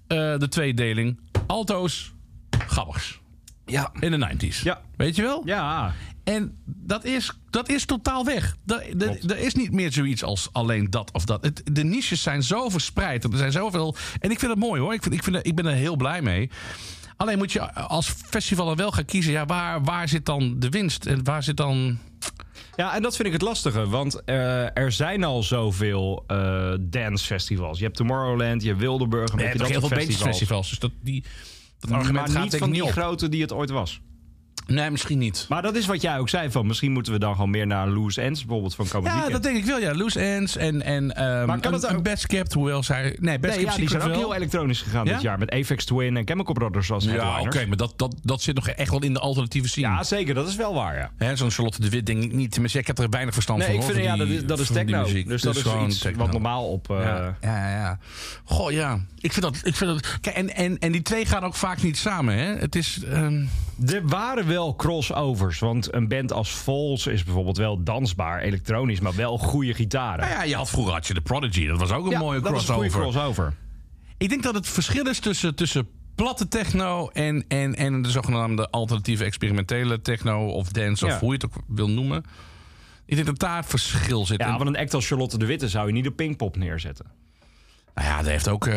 Speaker 2: eh, de tweedeling alto's, gabbers.
Speaker 3: Ja.
Speaker 2: In de 90s.
Speaker 3: Ja.
Speaker 2: Weet je wel?
Speaker 3: Ja,
Speaker 2: En dat is, dat is totaal weg. Da- da-
Speaker 3: Klopt.
Speaker 2: Er is niet meer zoiets als alleen dat of dat. Het, de niches zijn zo verspreid. en Er zijn zoveel. En ik vind het mooi hoor. Ik, vind, ik, vind, het- ik ben er heel blij mee. Alleen moet je als festival er wel gaan kiezen. Ja, waar, waar zit dan de winst? En waar zit dan.
Speaker 3: Ja, en dat vind ik het lastige, want eh, er zijn al zoveel eh dancefestivals. Je hebt Tomorrowland, je hebt Wildeburg, een
Speaker 2: Je
Speaker 3: beetje
Speaker 2: hebt
Speaker 3: dat
Speaker 2: ook heel veel
Speaker 3: soort festivals.
Speaker 2: bandjesfestivals. Dus dat, die, dat argument
Speaker 3: maar
Speaker 2: gaat
Speaker 3: niet
Speaker 2: denk ik
Speaker 3: van die
Speaker 2: niet op.
Speaker 3: grote die het ooit was.
Speaker 2: Nee, misschien niet.
Speaker 3: Maar dat is wat jij ook zei van, misschien moeten we dan gewoon meer naar Loose Ends bijvoorbeeld van komend
Speaker 2: Ja,
Speaker 3: weekend.
Speaker 2: dat denk ik wel. Ja, Loose Ends en, en ehm
Speaker 3: Maar kan
Speaker 2: een,
Speaker 3: het ook-
Speaker 2: een Best Kept, hoewel zij... Nee, Best
Speaker 3: Nee,
Speaker 2: Kept
Speaker 3: ja, die
Speaker 2: Secret
Speaker 3: zijn ook
Speaker 2: wel.
Speaker 3: heel elektronisch gegaan
Speaker 2: Ja?
Speaker 3: dit jaar met Apex Twin en Chemical Brothers als
Speaker 2: Ja,
Speaker 3: headliners.
Speaker 2: oké, maar dat, dat, dat zit nog echt wel in de alternatieve scene.
Speaker 3: Ja, zeker, dat is wel waar, ja.
Speaker 2: Hè, Zo'n Charlotte de Wit denk ik niet. Tenminste, ik heb er weinig verstand
Speaker 3: Nee,
Speaker 2: van.
Speaker 3: ik vind,
Speaker 2: hoor,
Speaker 3: ja,
Speaker 2: van
Speaker 3: dat
Speaker 2: die-
Speaker 3: is, dat is
Speaker 2: van die
Speaker 3: techno.
Speaker 2: muziek.
Speaker 3: Dus dat
Speaker 2: Het
Speaker 3: is
Speaker 2: gewoon
Speaker 3: iets
Speaker 2: techno.
Speaker 3: wat normaal op... eh,
Speaker 2: Ja, ja, ja. Goh, ja. Ik vind dat... Ik vind dat kijk, en, en, en die twee gaan ook vaak niet samen, hè. Het is... ehm,
Speaker 3: Er waren wel crossovers, want een band als Falls is bijvoorbeeld wel dansbaar, elektronisch, maar wel goede gitaren.
Speaker 2: nou ja, je had vroeger had je de Prodigy. Dat was ook een
Speaker 3: Ja,
Speaker 2: mooie
Speaker 3: dat is een
Speaker 2: crossover.
Speaker 3: goede crossover.
Speaker 2: Ik denk dat het verschil is tussen, tussen platte techno en, en, en de zogenaamde alternatieve experimentele techno of dance of
Speaker 3: Ja.
Speaker 2: hoe je het ook wil noemen. Ik denk dat daar het verschil zit. En-
Speaker 3: Ja, want een act als Charlotte de Witte zou je niet op Pinkpop neerzetten.
Speaker 2: Nou ja, daar heeft ook, eh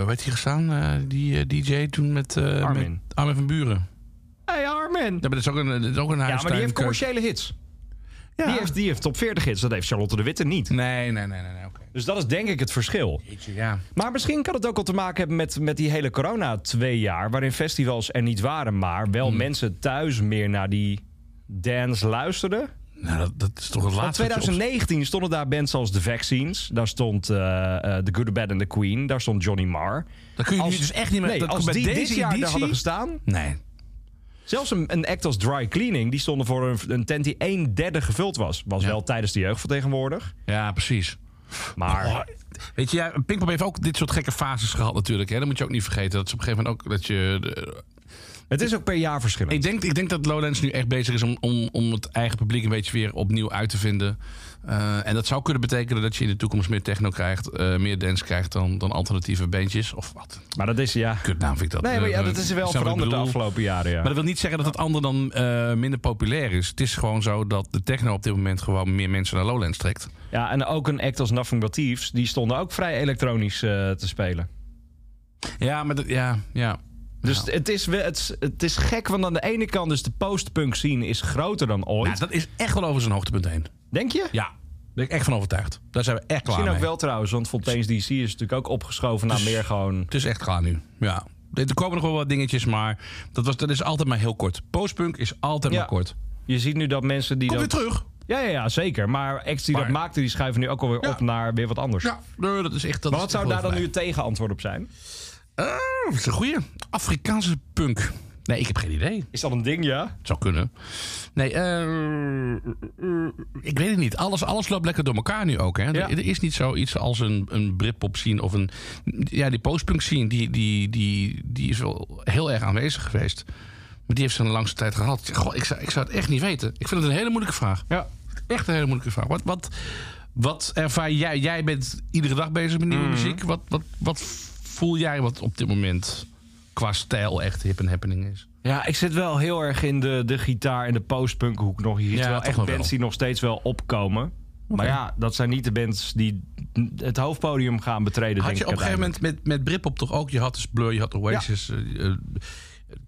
Speaker 2: hoe heet die gestaan? Eh, die eh, DJ toen met, eh,
Speaker 3: Armin.
Speaker 2: met Armin van Buren.
Speaker 3: Hey Armin!
Speaker 2: Ja, maar dat is ook een, dat is ook een
Speaker 3: Ja, maar die
Speaker 2: huistuinkeuken.
Speaker 3: heeft commerciële hits.
Speaker 4: Ja.
Speaker 3: Die, heeft, die heeft top 40 hits. Dat heeft Charlotte de Witte niet.
Speaker 2: Nee, nee, nee, nee, nee, oké.
Speaker 3: Dus dat is denk ik het verschil.
Speaker 2: Jeetje, ja.
Speaker 3: Maar misschien kan het ook al te maken hebben met, met die hele corona twee jaar... waarin festivals er niet waren, maar wel mensen thuis meer naar die dance luisterden.
Speaker 2: Nou, dat, dat is toch het
Speaker 3: Van
Speaker 2: laatste. wat je op-
Speaker 3: 2019 stonden daar bands als The Vaccines. Daar stond eh, eh, The Good, The Bad and The Queen. Daar stond Johnny Marr.
Speaker 2: Dat kun je nu dus echt niet meer...
Speaker 3: Nee,
Speaker 2: dat
Speaker 3: als
Speaker 2: bij
Speaker 3: die
Speaker 2: deze
Speaker 3: dit jaar daar
Speaker 2: editie-
Speaker 3: hadden gestaan...
Speaker 2: Nee.
Speaker 3: Zelfs een, een act als Dry Cleaning... die stonden voor een, een tent die een derde gevuld was. Was
Speaker 2: Ja.
Speaker 3: wel tijdens de jeugd vertegenwoordig.
Speaker 2: Ja, precies.
Speaker 3: Maar
Speaker 2: Oh, Weet je, ja, Pinkpop heeft ook dit soort gekke fases gehad natuurlijk. Hè? Dat moet je ook niet vergeten. Dat ze op een gegeven moment ook dat je... de-
Speaker 3: het is ook per jaar verschillend.
Speaker 2: ik, denk, ik denk dat Lowlands nu echt bezig is om, om, om het eigen publiek een beetje weer opnieuw uit te vinden. Eh, en dat zou kunnen betekenen dat je in de toekomst meer techno krijgt, eh, meer dance krijgt dan, dan alternatieve bandjes. Of wat?
Speaker 3: Maar dat is, ja...
Speaker 2: Kutnaam vind ik dat.
Speaker 3: Nee, maar ja,
Speaker 2: Eh,
Speaker 3: dat is
Speaker 2: snap wat
Speaker 3: wel
Speaker 2: ik
Speaker 3: veranderd de
Speaker 2: bedoel?
Speaker 3: afgelopen jaren, ja.
Speaker 2: Maar dat wil niet zeggen dat het ander dan eh, minder populair is. Het is gewoon zo dat de techno op dit moment gewoon meer mensen naar Lowlands trekt.
Speaker 3: Ja, en ook een act als Nothing But Thieves... die stonden ook vrij elektronisch eh, te spelen.
Speaker 2: Ja, maar dat, ja, ja.
Speaker 3: Dus het, is, we- het, het is gek, want aan de ene kant... dus de post-punk scene is groter dan ooit.
Speaker 2: Nou, dat is echt wel over zijn hoogtepunt heen.
Speaker 3: Denk je?
Speaker 2: Ja, daar ben ik echt van overtuigd. Daar zijn we echt klaar
Speaker 3: Misschien ook
Speaker 2: mee. Dus-
Speaker 3: wel trouwens, want Fontaine's DC is natuurlijk ook opgeschoven naar meer gewoon...
Speaker 2: Het is echt klaar nu. Ja. Er komen nog wel wat dingetjes, maar dat, was, dat is altijd maar heel kort. Postpunk is altijd
Speaker 3: Ja.
Speaker 2: maar kort.
Speaker 3: Je ziet nu dat mensen die
Speaker 2: Kom weer
Speaker 3: dat...
Speaker 2: terug.
Speaker 3: Ja, ja, ja, zeker. Maar acts die
Speaker 2: Maar-
Speaker 3: dat maakten, die schuiven nu ook alweer
Speaker 2: Ja.
Speaker 3: op naar weer wat anders.
Speaker 2: Ja, nee, dat is echt. Dat
Speaker 3: Maar
Speaker 2: is
Speaker 3: wat zou
Speaker 2: echt
Speaker 3: daar
Speaker 2: wel
Speaker 3: dan nu
Speaker 2: voorbij.
Speaker 3: het tegenantwoord op zijn?
Speaker 2: Eh, dat is een goeie. Afrikaanse punk. Nee, ik heb geen idee.
Speaker 3: Is dat een ding, ja?
Speaker 2: Het zou kunnen. Nee, eh, eh, eh, ik weet het niet. Alles, alles loopt lekker door elkaar nu ook. Hè?
Speaker 3: Ja.
Speaker 2: Er, er is niet zoiets als een, een Britpop scene of een... Ja, die postpunk scene, die, die, die, die is wel heel erg aanwezig geweest. Maar die heeft ze een langste tijd gehad. Goh, ik, zou, ik zou het echt niet weten. Ik vind het een hele moeilijke vraag.
Speaker 3: Ja.
Speaker 2: Echt een hele moeilijke vraag. Wat, wat, wat ervaar jij? Jij bent iedere dag bezig met
Speaker 3: Mm.
Speaker 2: nieuwe muziek. Wat, wat, wat voel jij wat op dit moment qua stijl echt hip en happening is?
Speaker 3: Ja, ik zit wel heel erg in de, de gitaar en de postpunk hoek nog. Je ziet
Speaker 2: Ja,
Speaker 3: wel
Speaker 2: toch
Speaker 3: echt
Speaker 2: nog
Speaker 3: bands
Speaker 2: wel.
Speaker 3: die nog steeds wel opkomen. Maar ja, dat zijn niet de bands die het hoofdpodium gaan betreden,
Speaker 2: Had
Speaker 3: denk
Speaker 2: je
Speaker 3: ik
Speaker 2: op een gegeven moment met, met Britpop toch ook? Je had dus Blur, je had Oasis, eh, eh,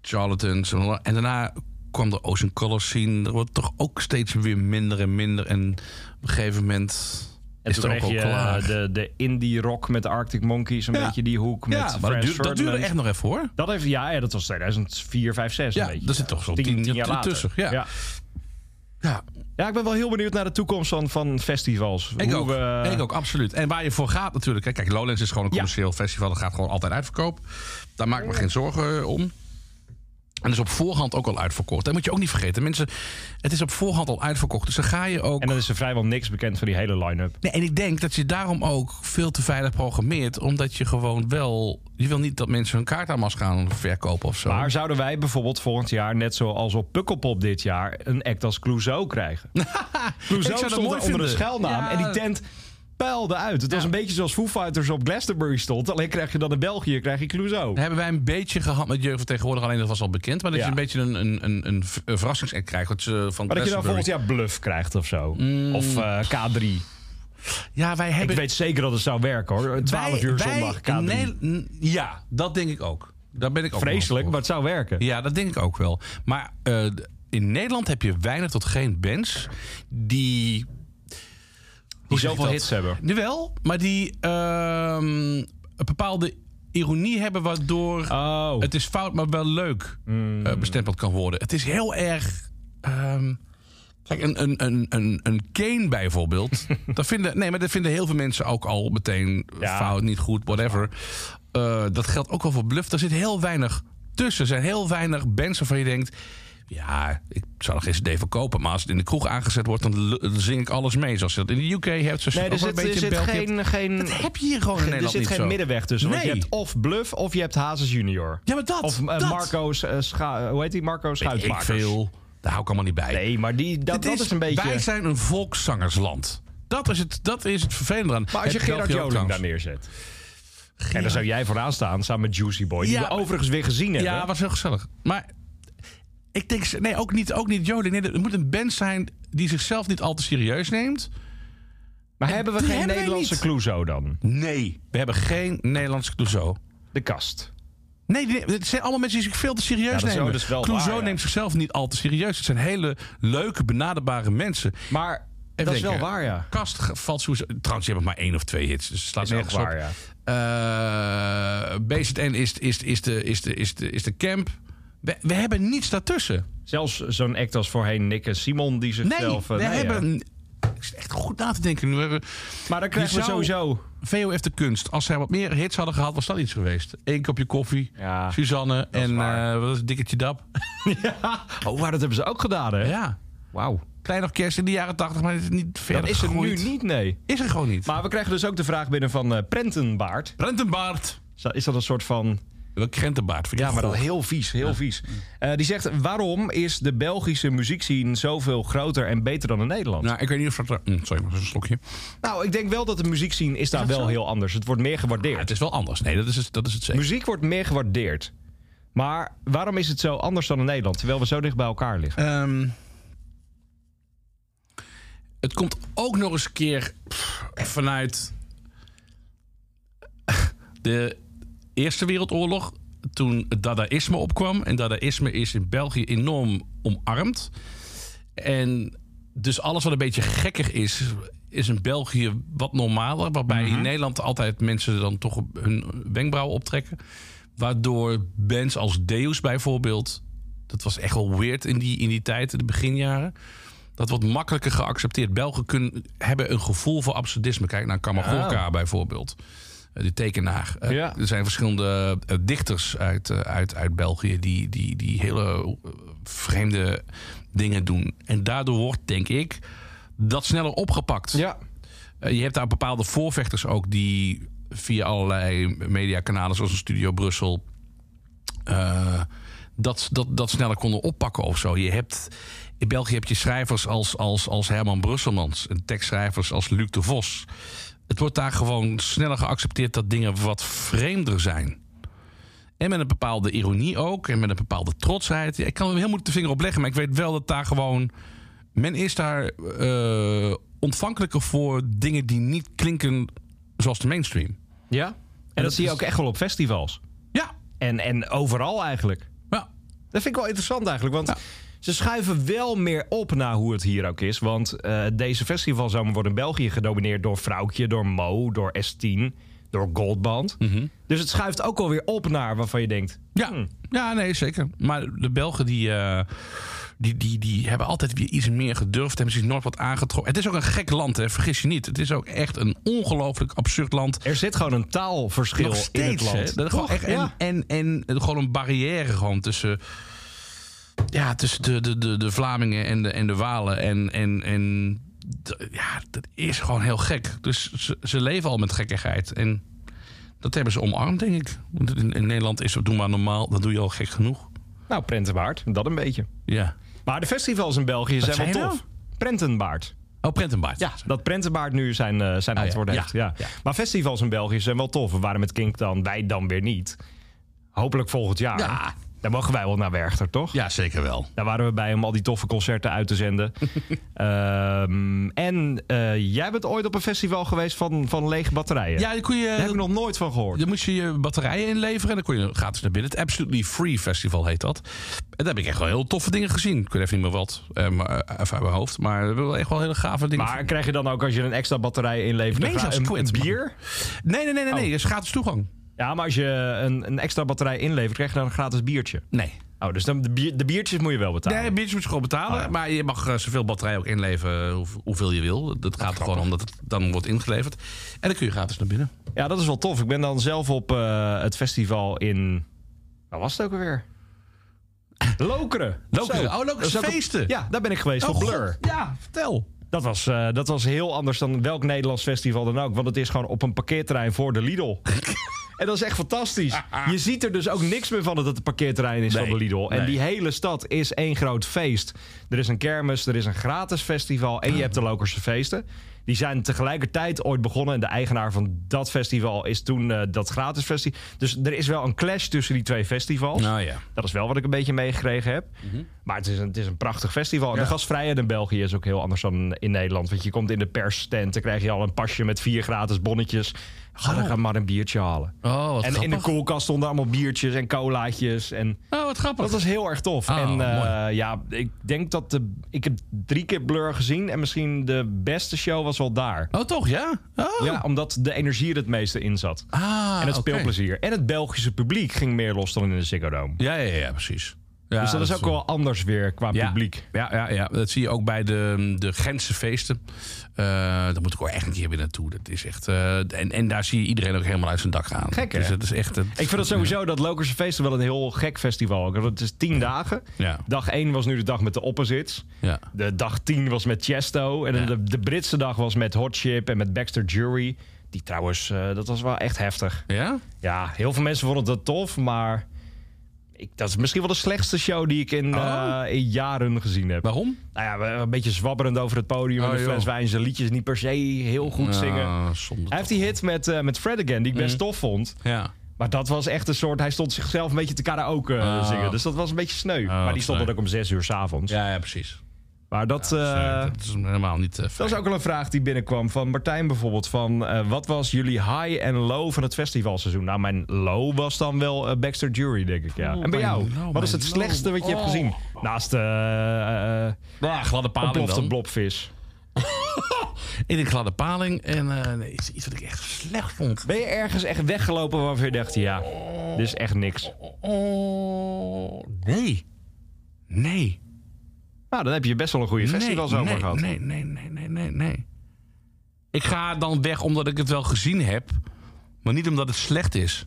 Speaker 2: Charlatans. En en daarna kwam de Ocean Colors scene. Dat wordt toch ook steeds weer minder en minder. En op een gegeven moment
Speaker 3: En
Speaker 2: is
Speaker 3: toen
Speaker 2: het ook
Speaker 3: kreeg
Speaker 2: al
Speaker 3: je
Speaker 2: klaar.
Speaker 3: eh, de, de indie rock met de Arctic Monkeys, een
Speaker 2: Ja.
Speaker 3: beetje die hoek met
Speaker 2: ja, maar dat,
Speaker 3: Franz
Speaker 2: duur- dat duurde
Speaker 3: Ferdinand.
Speaker 2: echt nog even hoor.
Speaker 3: Dat heeft, ja, ja, dat was 2004, 5, 6
Speaker 2: Ja,
Speaker 3: een beetje.
Speaker 2: daar zit toch zo'n tien jaar
Speaker 3: later.
Speaker 2: tussen, ja.
Speaker 3: ja.
Speaker 2: Ja,
Speaker 3: Ja, ik ben wel heel benieuwd naar de toekomst van, van festivals.
Speaker 2: ik
Speaker 3: Hoe
Speaker 2: ook.
Speaker 3: we-
Speaker 2: Ik ook, absoluut. En waar je voor gaat natuurlijk. hè. Kijk, Lowlands is gewoon een commercieel festival. Dat gaat gewoon altijd uitverkoop. Daar maak ik me geen zorgen eh, om. En is op voorhand ook al uitverkocht. Dat moet je ook niet vergeten. Mensen, het is op voorhand al uitverkocht. Dus dan ga je ook...
Speaker 3: En dan is er vrijwel niks bekend van die hele line-up.
Speaker 2: Nee, en ik denk dat je daarom ook veel te veilig programmeert. Omdat je gewoon wel. Je wil niet dat mensen hun kaart aan mas gaan verkopen of zo.
Speaker 3: Maar zouden wij bijvoorbeeld volgend jaar, net zoals op Pukkelpop dit jaar, een act als Clouseau krijgen? Clouseau
Speaker 2: dat
Speaker 3: stond
Speaker 2: mooi
Speaker 3: onder
Speaker 2: vinden.
Speaker 3: een schuilnaam
Speaker 2: Ja.
Speaker 3: en die tent puilde uit. Het was een beetje zoals Foo Fighters op Glastonbury stond. Alleen krijg je dan in België krijg je Clouseau.
Speaker 2: Dat hebben wij een beetje gehad met jeugd van tegenwoordig. Alleen dat was al bekend. Maar dat
Speaker 3: Ja.
Speaker 2: je een beetje een, een, een, een ver- een verrassingsact krijgt. Wat ze van
Speaker 3: Maar dat je dan
Speaker 2: Glastonbury- Mm.
Speaker 3: volgend jaar Bluff krijgt of zo. Of eh, K3.
Speaker 2: Ja, wij
Speaker 3: Ik
Speaker 2: hebben.
Speaker 3: weet zeker dat het zou werken hoor. 12
Speaker 2: wij-
Speaker 3: uur
Speaker 2: wij
Speaker 3: zondag
Speaker 2: in
Speaker 3: K3.
Speaker 2: Nederland- ja, dat denk ik ook. Daar ben ik ook
Speaker 3: Vreselijk,
Speaker 2: wel
Speaker 3: maar
Speaker 2: voor.
Speaker 3: het zou werken.
Speaker 2: Ja, dat denk ik ook wel. Maar eh, in Nederland heb je weinig tot geen bands die.
Speaker 3: Die
Speaker 2: zeg ik
Speaker 3: zoveel
Speaker 2: dat?
Speaker 3: hits hebben.
Speaker 2: Nu wel, maar die ehm, een bepaalde ironie hebben waardoor
Speaker 3: Oh.
Speaker 2: het is fout, maar wel leuk eh,
Speaker 3: Hmm.
Speaker 2: bestempeld kan worden. Het is heel erg. ehm, kijk, een, een, een, een, een Kane bijvoorbeeld. dat vinden, nee, maar dat vinden heel veel mensen ook al meteen
Speaker 3: Ja.
Speaker 2: fout, niet goed, whatever. Eh, dat geldt ook wel voor Bluff. Er zit heel weinig tussen. Er zijn heel weinig bands waarvan je denkt. Ja, ik zou er geen CD voor kopen. Maar als het in de kroeg aangezet wordt, dan l- dan zing ik alles mee. Zoals je dat in de UK hebt. Zoals je ook
Speaker 3: Nee, er
Speaker 2: wel een
Speaker 3: zit, er
Speaker 2: beetje in
Speaker 3: zit
Speaker 2: België hebt.
Speaker 3: geen, geen,
Speaker 2: Dat heb je hier gewoon in
Speaker 3: er
Speaker 2: Nederland
Speaker 3: zit
Speaker 2: niet
Speaker 3: geen
Speaker 2: zo.
Speaker 3: middenweg tussen. Want
Speaker 2: Nee.
Speaker 3: je hebt of Bluff of je hebt Hazes junior.
Speaker 2: Ja, maar dat,
Speaker 3: Of eh,
Speaker 2: dat.
Speaker 3: Marco's, eh, scha- hoe heet die? Marco
Speaker 2: Weet ik
Speaker 3: Schuitmakers.
Speaker 2: veel. Daar hou ik allemaal niet bij.
Speaker 3: Nee, maar die, dat,
Speaker 2: Het
Speaker 3: dat is, een beetje...
Speaker 2: Wij zijn een volkszangersland. Dat is het, dat is het vervelende aan.
Speaker 3: Maar als je
Speaker 2: Heb
Speaker 3: Gerard
Speaker 2: België ook
Speaker 3: Joling daar
Speaker 2: trouwens.
Speaker 3: neerzet. En dan zou jij vooraan staan, samen met Juicy Boy. Die
Speaker 2: Ja,
Speaker 3: we
Speaker 2: maar-
Speaker 3: overigens weer gezien hebben.
Speaker 2: Ja, was heel gezellig. Maar ik denk, ze- nee, ook niet, ook niet Joling. Nee, er moet een band zijn die zichzelf niet al te serieus neemt.
Speaker 3: maar hebben we
Speaker 2: die
Speaker 3: geen
Speaker 2: hebben wij
Speaker 3: Nederlandse
Speaker 2: niet.
Speaker 3: Clouseau dan?
Speaker 2: Nee. We hebben geen Nederlands Clouseau.
Speaker 3: De kast.
Speaker 2: Nee, nee, het zijn allemaal mensen die zich veel te serieus
Speaker 3: dat is-
Speaker 2: nemen.
Speaker 3: dat is wel
Speaker 2: Clouseau
Speaker 3: waar, ja.
Speaker 2: neemt zichzelf niet al te serieus. Het zijn hele leuke, benaderbare mensen. Even
Speaker 3: Maar dat is wel
Speaker 2: denken.
Speaker 3: waar, ja.
Speaker 2: Kast ge- valt sowieso... Trouwens, je hebt maar één of twee hits. Dus het slaat
Speaker 3: Is
Speaker 2: nergens
Speaker 3: echt
Speaker 2: op. Eh,
Speaker 3: waar,
Speaker 2: ja. BZN is, is, is, de, is, de, is, de, is de camp. We, we hebben niets daartussen.
Speaker 3: Zelfs zo'n act als voorheen Nick en Simon die
Speaker 2: Nee,
Speaker 3: zichzelf...
Speaker 2: we
Speaker 3: eh, nee, ja.
Speaker 2: hebben... Ik zit echt goed na te denken. Nu hebben
Speaker 3: Maar dan krijgen
Speaker 2: Je
Speaker 3: we
Speaker 2: zou-
Speaker 3: sowieso...
Speaker 2: VOF de kunst. Als zij wat meer hits hadden gehad, was dat iets geweest. Eén kopje koffie,
Speaker 3: Ja,
Speaker 2: Suzanne en
Speaker 3: waar.
Speaker 2: eh, wat is het, Dikkertje Dap.
Speaker 3: Oh, maar dat hebben ze ook gedaan, hè?
Speaker 2: Ja,
Speaker 3: Wauw.
Speaker 2: klein orkest in de jaren tachtig, maar het is niet verder
Speaker 3: Dat is er nu
Speaker 2: gegroeid.
Speaker 3: niet, nee.
Speaker 2: Is er gewoon niet.
Speaker 3: Maar we krijgen dus ook de vraag binnen van eh, Prentenbaard.
Speaker 2: Rentenbaard.
Speaker 3: Zo- Is dat een soort van...
Speaker 2: Welk Rentenbaard?
Speaker 3: Ja, maar dat heel vies, heel vies. Eh, die zegt, waarom is de Belgische muziekscene zoveel groter en beter dan in Nederland? Nou,
Speaker 2: Nou, ik weet niet of dat... mm, sorry, maar dat is een slokje.
Speaker 3: ik denk wel dat de muziekscene is daar wel heel anders. Het wordt meer
Speaker 2: Ja,
Speaker 3: gewaardeerd.
Speaker 2: het is wel anders. Nee, dat is het, dat is het zeker.
Speaker 3: Muziek wordt meer gewaardeerd. Maar waarom is het zo anders dan in Nederland, terwijl we zo dicht bij elkaar liggen?
Speaker 2: Ehm, het komt ook nog eens een keer pff, vanuit de Eerste Wereldoorlog. Toen het dadaïsme opkwam. En dadaïsme is in België enorm omarmd. En dus alles wat een beetje gekker is, is in België wat normaler. Waarbij in Nederland altijd mensen dan toch hun wenkbrauwen optrekken. Waardoor bands als Deus bijvoorbeeld... dat was echt wel weird in die, in die tijd, in de beginjaren... dat wordt makkelijker geaccepteerd. Belgen kunnen, hebben een gevoel voor absurdisme. Kijk naar Kamagorka bijvoorbeeld. eh, De tekenaar. Eh,
Speaker 3: Ja.
Speaker 2: Er zijn verschillende eh, dichters uit, eh, uit, uit België... die, die, die hele eh, vreemde dingen doen. En daardoor wordt, denk ik, dat sneller opgepakt.
Speaker 3: Ja,
Speaker 2: Eh, Je hebt daar bepaalde voorvechters ook die via allerlei mediakanalen, zoals een Studio Brussel, eh, dat, dat, dat sneller konden oppakken of zo. Je hebt, in België heb je schrijvers als, als, als Herman Brusselmans en tekstschrijvers als Luc de Vos. Het wordt daar gewoon sneller geaccepteerd dat dingen wat vreemder zijn. En met een bepaalde ironie ook. En met een bepaalde trotsheid. Ja, Ik kan er heel moeilijk de vinger op leggen. Maar ik weet wel dat daar gewoon... Men is daar eh, ontvankelijker voor dingen die niet klinken zoals de mainstream.
Speaker 3: ja. En, dat, zie je ook echt wel op festivals.
Speaker 2: Ja.
Speaker 3: En, en overal eigenlijk.
Speaker 2: ja.
Speaker 3: Dat vind ik wel interessant eigenlijk, want
Speaker 2: Ja.
Speaker 3: ze schuiven wel meer op naar hoe het hier ook is. Want eh, deze festivalzomer wordt in België gedomineerd door Vrouwtje, door Mo, door S10, door Goldband. Dus het schuift ook alweer op naar waarvan je denkt...
Speaker 2: Mhm. Ja.
Speaker 3: hmm,
Speaker 2: ja, nee, zeker. Maar de Belgen die, eh, die, die, die hebben altijd weer iets meer gedurfd. Hebben zich nooit wat aangetrokken. Het is ook een gek land, hè, vergis je niet. Het is ook echt een ongelooflijk absurd land.
Speaker 3: Er zit gewoon een taalverschil
Speaker 2: Nog
Speaker 3: in
Speaker 2: steeds,
Speaker 3: het
Speaker 2: hè?
Speaker 3: land.
Speaker 2: Dat is gewoon
Speaker 3: Toch?
Speaker 2: echt,
Speaker 3: Ja.
Speaker 2: en, en, en gewoon een barrière gewoon tussen, ja, tussen de, de, de, de Vlamingen en de, en de Walen. En, en, en d- ja, dat is gewoon heel gek. Dus ze, ze leven al met gekkigheid. En dat hebben ze omarmd, denk ik. Want In, in Nederland is dat doe maar normaal. Dat doe je al gek genoeg.
Speaker 3: Nou, Prentenbaard, dat een beetje.
Speaker 2: Ja.
Speaker 3: Maar de festivals in België zijn
Speaker 2: zei je
Speaker 3: wel
Speaker 2: nou?
Speaker 3: tof. Prentenbaard.
Speaker 2: Oh, Prentenbaard.
Speaker 3: Ja, dat Prentenbaard nu zijn, eh, zijn
Speaker 2: Ah, ja.
Speaker 3: antwoord
Speaker 2: Ja.
Speaker 3: heeft. Ja.
Speaker 2: Ja.
Speaker 3: Maar festivals in België zijn wel tof. Waarom met Kink dan? Wij dan weer niet. Hopelijk volgend jaar.
Speaker 2: Ja.
Speaker 3: Dan mogen wij wel naar Werchter, toch?
Speaker 2: ja, zeker wel.
Speaker 3: Daar waren we bij om al die toffe concerten uit te zenden. Ehm, en eh, jij bent ooit op een festival geweest van, van lege batterijen.
Speaker 2: Ja, dan kon je,
Speaker 3: Daar heb ik nog nooit van gehoord.
Speaker 2: Dan moest je je batterijen inleveren en dan kon je gratis naar binnen. Het Absolutely Free Festival heet dat. En daar heb ik echt wel heel toffe dingen gezien. Ik weet even niet meer wat, eh, maar, eh, even uit mijn hoofd. Maar we hebben wel echt wel hele gave dingen.
Speaker 3: Maar krijg je dan ook als je een extra batterij inlevert
Speaker 2: Nee,
Speaker 3: een gra-
Speaker 2: zelfs
Speaker 3: een,
Speaker 2: quid,
Speaker 3: een
Speaker 2: man.
Speaker 3: bier?
Speaker 2: Nee, nee, nee, nee, nee.
Speaker 3: Oh.
Speaker 2: Dat is gratis toegang.
Speaker 3: Ja, maar als je een, een extra batterij inlevert, krijg je dan een gratis biertje.
Speaker 2: Nee.
Speaker 3: Oh, dus dan de, bier- de biertjes moet je wel betalen.
Speaker 2: Nee, bitch moet je gewoon
Speaker 3: Oh
Speaker 2: betalen. Maar je mag eh, zoveel batterijen ook inleveren, hoe- hoeveel je wil. Dat gaat er gewoon om dat het dan wordt ingeleverd. En dan kun je gratis naar binnen.
Speaker 3: Ja, dat is wel tof. Ik ben dan zelf op eh, het festival in. Wat was het ook alweer? Lokeren.
Speaker 2: Lokeren.
Speaker 3: Zo.
Speaker 2: Oh, Lokeren
Speaker 3: Dat is ook op-
Speaker 2: feesten.
Speaker 3: Ja, daar ben ik geweest
Speaker 2: Oh,
Speaker 3: voor Blur.
Speaker 2: God. Ja, vertel.
Speaker 3: Dat was, eh, dat was heel anders dan welk Nederlands festival dan ook. Want het is gewoon op een parkeerterrein voor de Lidl. en dat is echt fantastisch. Je ziet er dus ook niks meer van dat het een parkeerterrein is van
Speaker 2: Nee,
Speaker 3: de Lidl. En
Speaker 2: nee.
Speaker 3: die hele stad is één groot feest. Er is een kermis, er is een gratis festival en je hebt de Lokerse feesten. Die zijn tegelijkertijd ooit begonnen. En de eigenaar van dat festival is toen eh, dat gratis festival. Dus er is wel een clash tussen die twee festivals.
Speaker 2: Nou ja.
Speaker 3: Dat is wel wat ik een beetje meegekregen heb.
Speaker 2: Mhm.
Speaker 3: Maar het is, een, het is een prachtig festival. En de gastvrijheid in België is ook heel anders dan in Nederland. Want je komt in de persstand, dan krijg je al een pasje met vier gratis bonnetjes. Ga dan gaan maar een biertje halen.
Speaker 2: Oh, wat
Speaker 3: en in de
Speaker 2: grappig.
Speaker 3: koelkast stonden allemaal biertjes en colaatjes. En
Speaker 2: Oh, wat grappig.
Speaker 3: dat was heel erg tof.
Speaker 2: Ah,
Speaker 3: en eh,
Speaker 2: mooi.
Speaker 3: ja, ik denk dat de. Ik heb drie keer Blur gezien. En misschien de beste show was wel daar.
Speaker 2: Oh, toch, ja? Oh.
Speaker 3: Ja, omdat de energie er het meeste in zat.
Speaker 2: Ah,
Speaker 3: en het
Speaker 2: oké.
Speaker 3: speelplezier. En het Belgische publiek ging meer los dan in de Ziggo Dome.
Speaker 2: Ja, ja, ja, precies. Ja,
Speaker 3: dus dat, is ook wel anders weer qua
Speaker 2: ja.
Speaker 3: publiek.
Speaker 2: Ja, ja, ja, dat zie je ook bij de, de Gentse feesten. Eh daar moet ik ook echt een keer weer naartoe. Dat is echt, eh, en, en daar zie je iedereen ook helemaal uit zijn dak gaan.
Speaker 3: Gek, hè?
Speaker 2: dus dat is echt... het-
Speaker 3: Ik vind het sowieso dat Lokerse Feesten wel een heel gek festival. ook. Want Het is tien dagen.
Speaker 2: Ja.
Speaker 3: Dag één was nu de dag met de opposites.
Speaker 2: Ja.
Speaker 3: De dag tien was met Chesto. En
Speaker 2: Ja.
Speaker 3: de, de Britse dag was met Hot Chip en met Baxter Jury. Die trouwens, eh, dat was wel echt heftig.
Speaker 2: Ja?
Speaker 3: Ja, heel veel mensen vonden dat tof, maar... Ik, dat is misschien wel de slechtste show die ik in,
Speaker 2: Oh.
Speaker 3: eh, in jaren gezien heb.
Speaker 2: Waarom?
Speaker 3: Nou ja, we- een beetje zwabberend over het podium.
Speaker 2: Oh,
Speaker 3: en een
Speaker 2: joh.
Speaker 3: fles wijn, zijn liedjes niet per se heel goed zingen.
Speaker 2: Ah, zonde
Speaker 3: Hij heeft die hit met, eh, met Fred Again, die ik best
Speaker 2: Mhm.
Speaker 3: tof vond.
Speaker 2: toch. Ja.
Speaker 3: Maar dat was echt een soort... Hij stond zichzelf een beetje te karaoke eh,
Speaker 2: Ah.
Speaker 3: zingen. Dus dat was een beetje sneu. maar
Speaker 2: wat
Speaker 3: die stond
Speaker 2: Oh, sneu.
Speaker 3: dan ook om zes uur s'avonds.
Speaker 2: Ja, ja, precies.
Speaker 3: Maar dat... eh,
Speaker 2: Eh, dat is helemaal niet... eh,
Speaker 3: dat
Speaker 2: fijn.
Speaker 3: is ook wel een vraag die binnenkwam van Martijn bijvoorbeeld. Van, eh, wat was jullie high en low van het festivalseizoen? Nou, mijn low was dan wel eh, Baxter Jury, denk ik. Ja.
Speaker 2: Oh,
Speaker 3: en bij
Speaker 2: mijn
Speaker 3: jou?
Speaker 2: low,
Speaker 3: wat is
Speaker 2: mijn
Speaker 3: het slechtste
Speaker 2: low.
Speaker 3: wat je hebt
Speaker 2: Oh.
Speaker 3: gezien? Naast eh eh,
Speaker 2: Ja, gladde paling
Speaker 3: ontplofte
Speaker 2: dan.
Speaker 3: blobvis.
Speaker 2: In een gladde paling. En eh nee, iets, iets wat ik echt slecht vond.
Speaker 3: Ben je ergens echt weggelopen waarvan je dacht, ja, dit is echt niks?
Speaker 2: Oh, nee. Nee.
Speaker 3: Nou, dan heb je best wel een goede festivalzomer
Speaker 2: nee,
Speaker 3: gehad.
Speaker 2: Nee, nee, nee, nee, nee, nee. Ik ga dan weg omdat ik het wel gezien heb. Maar niet omdat het slecht is.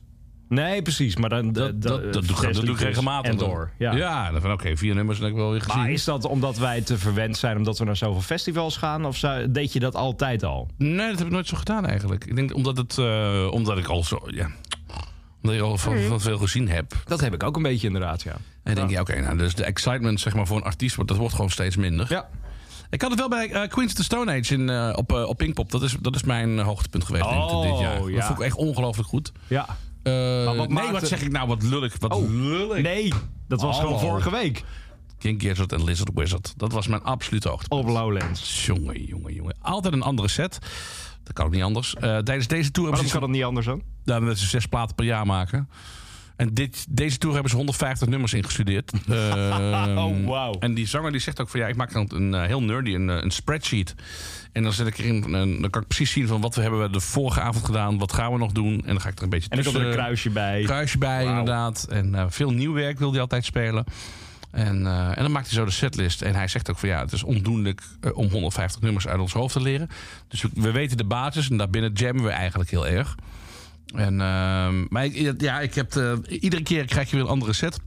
Speaker 3: Nee, precies. Maar dan,
Speaker 2: Dat, dat, dat, doe, ik-
Speaker 3: zes
Speaker 2: dat doe ik
Speaker 3: liedjes
Speaker 2: regelmatig.
Speaker 3: eh, en
Speaker 2: dan.
Speaker 3: door.
Speaker 2: Ja,
Speaker 3: Ja.
Speaker 2: dan van oké, vier nummers heb ik wel weer gezien.
Speaker 3: Maar is dat omdat wij te verwend zijn omdat we naar zoveel festivals gaan? Of zou- deed je dat altijd al?
Speaker 2: Nee, dat heb ik nooit zo gedaan eigenlijk. Ik denk omdat, het, eh, omdat ik al zo... Ja, omdat ik al van, van veel gezien heb.
Speaker 3: Dat heb ik ook een beetje inderdaad, Mm. ja.
Speaker 2: En denk je, oké, nou, dus de excitement zeg maar, voor een artiest... wordt- dat wordt gewoon steeds minder.
Speaker 3: Ja,
Speaker 2: Ik had het wel bij eh, Queens of the Stone Age in, eh, op, eh, op Pinkpop. Dat is, dat is mijn hoogtepunt geweest denk ik,
Speaker 3: Oh,
Speaker 2: dit jaar. Dat
Speaker 3: ja.
Speaker 2: vond ik echt ongelooflijk goed.
Speaker 3: ja.
Speaker 2: Eh,
Speaker 3: wat
Speaker 2: nee,
Speaker 3: maakte- Oh.
Speaker 2: wat zeg ik nou? Wat lullig. Wat lullig.
Speaker 3: Nee, dat was
Speaker 2: Hallo.
Speaker 3: gewoon vorige week
Speaker 2: King Gizzard en Lizard Wizard. Dat was mijn absolute hoogtepunt.
Speaker 3: op Lowlands.
Speaker 2: Jongen, jongen, jongen. Altijd een andere set. Dat kan ook niet anders. Eh, tijdens deze tour hebben
Speaker 3: Waarom
Speaker 2: ze,
Speaker 3: kan dat niet anders dan?
Speaker 2: nou, dat ze zes platen per jaar maken. En dit, deze tour hebben ze 150 nummers ingestudeerd. Ehm,
Speaker 3: Oh, wauw.
Speaker 2: En die zanger die zegt ook van ja, ik maak dan een eh, heel nerdy, een, eh, een spreadsheet. En dan zet ik erin, en dan kan ik precies zien van wat we hebben we de vorige avond gedaan, wat gaan we nog doen. En dan ga ik er een beetje
Speaker 3: En er komt er een kruisje bij.
Speaker 2: dus, eh, kruisje bij, inderdaad. En eh, veel nieuw werk wil hij altijd spelen. En, eh, en dan maakt hij zo de setlist. En hij zegt ook van ja, het is ondoenlijk eh, om 150 nummers uit ons hoofd te leren. Dus we, we weten de basis en daarbinnen jammen we eigenlijk heel erg. En, ehm, maar ik, ja, ik heb de- iedere keer krijg je weer een andere set.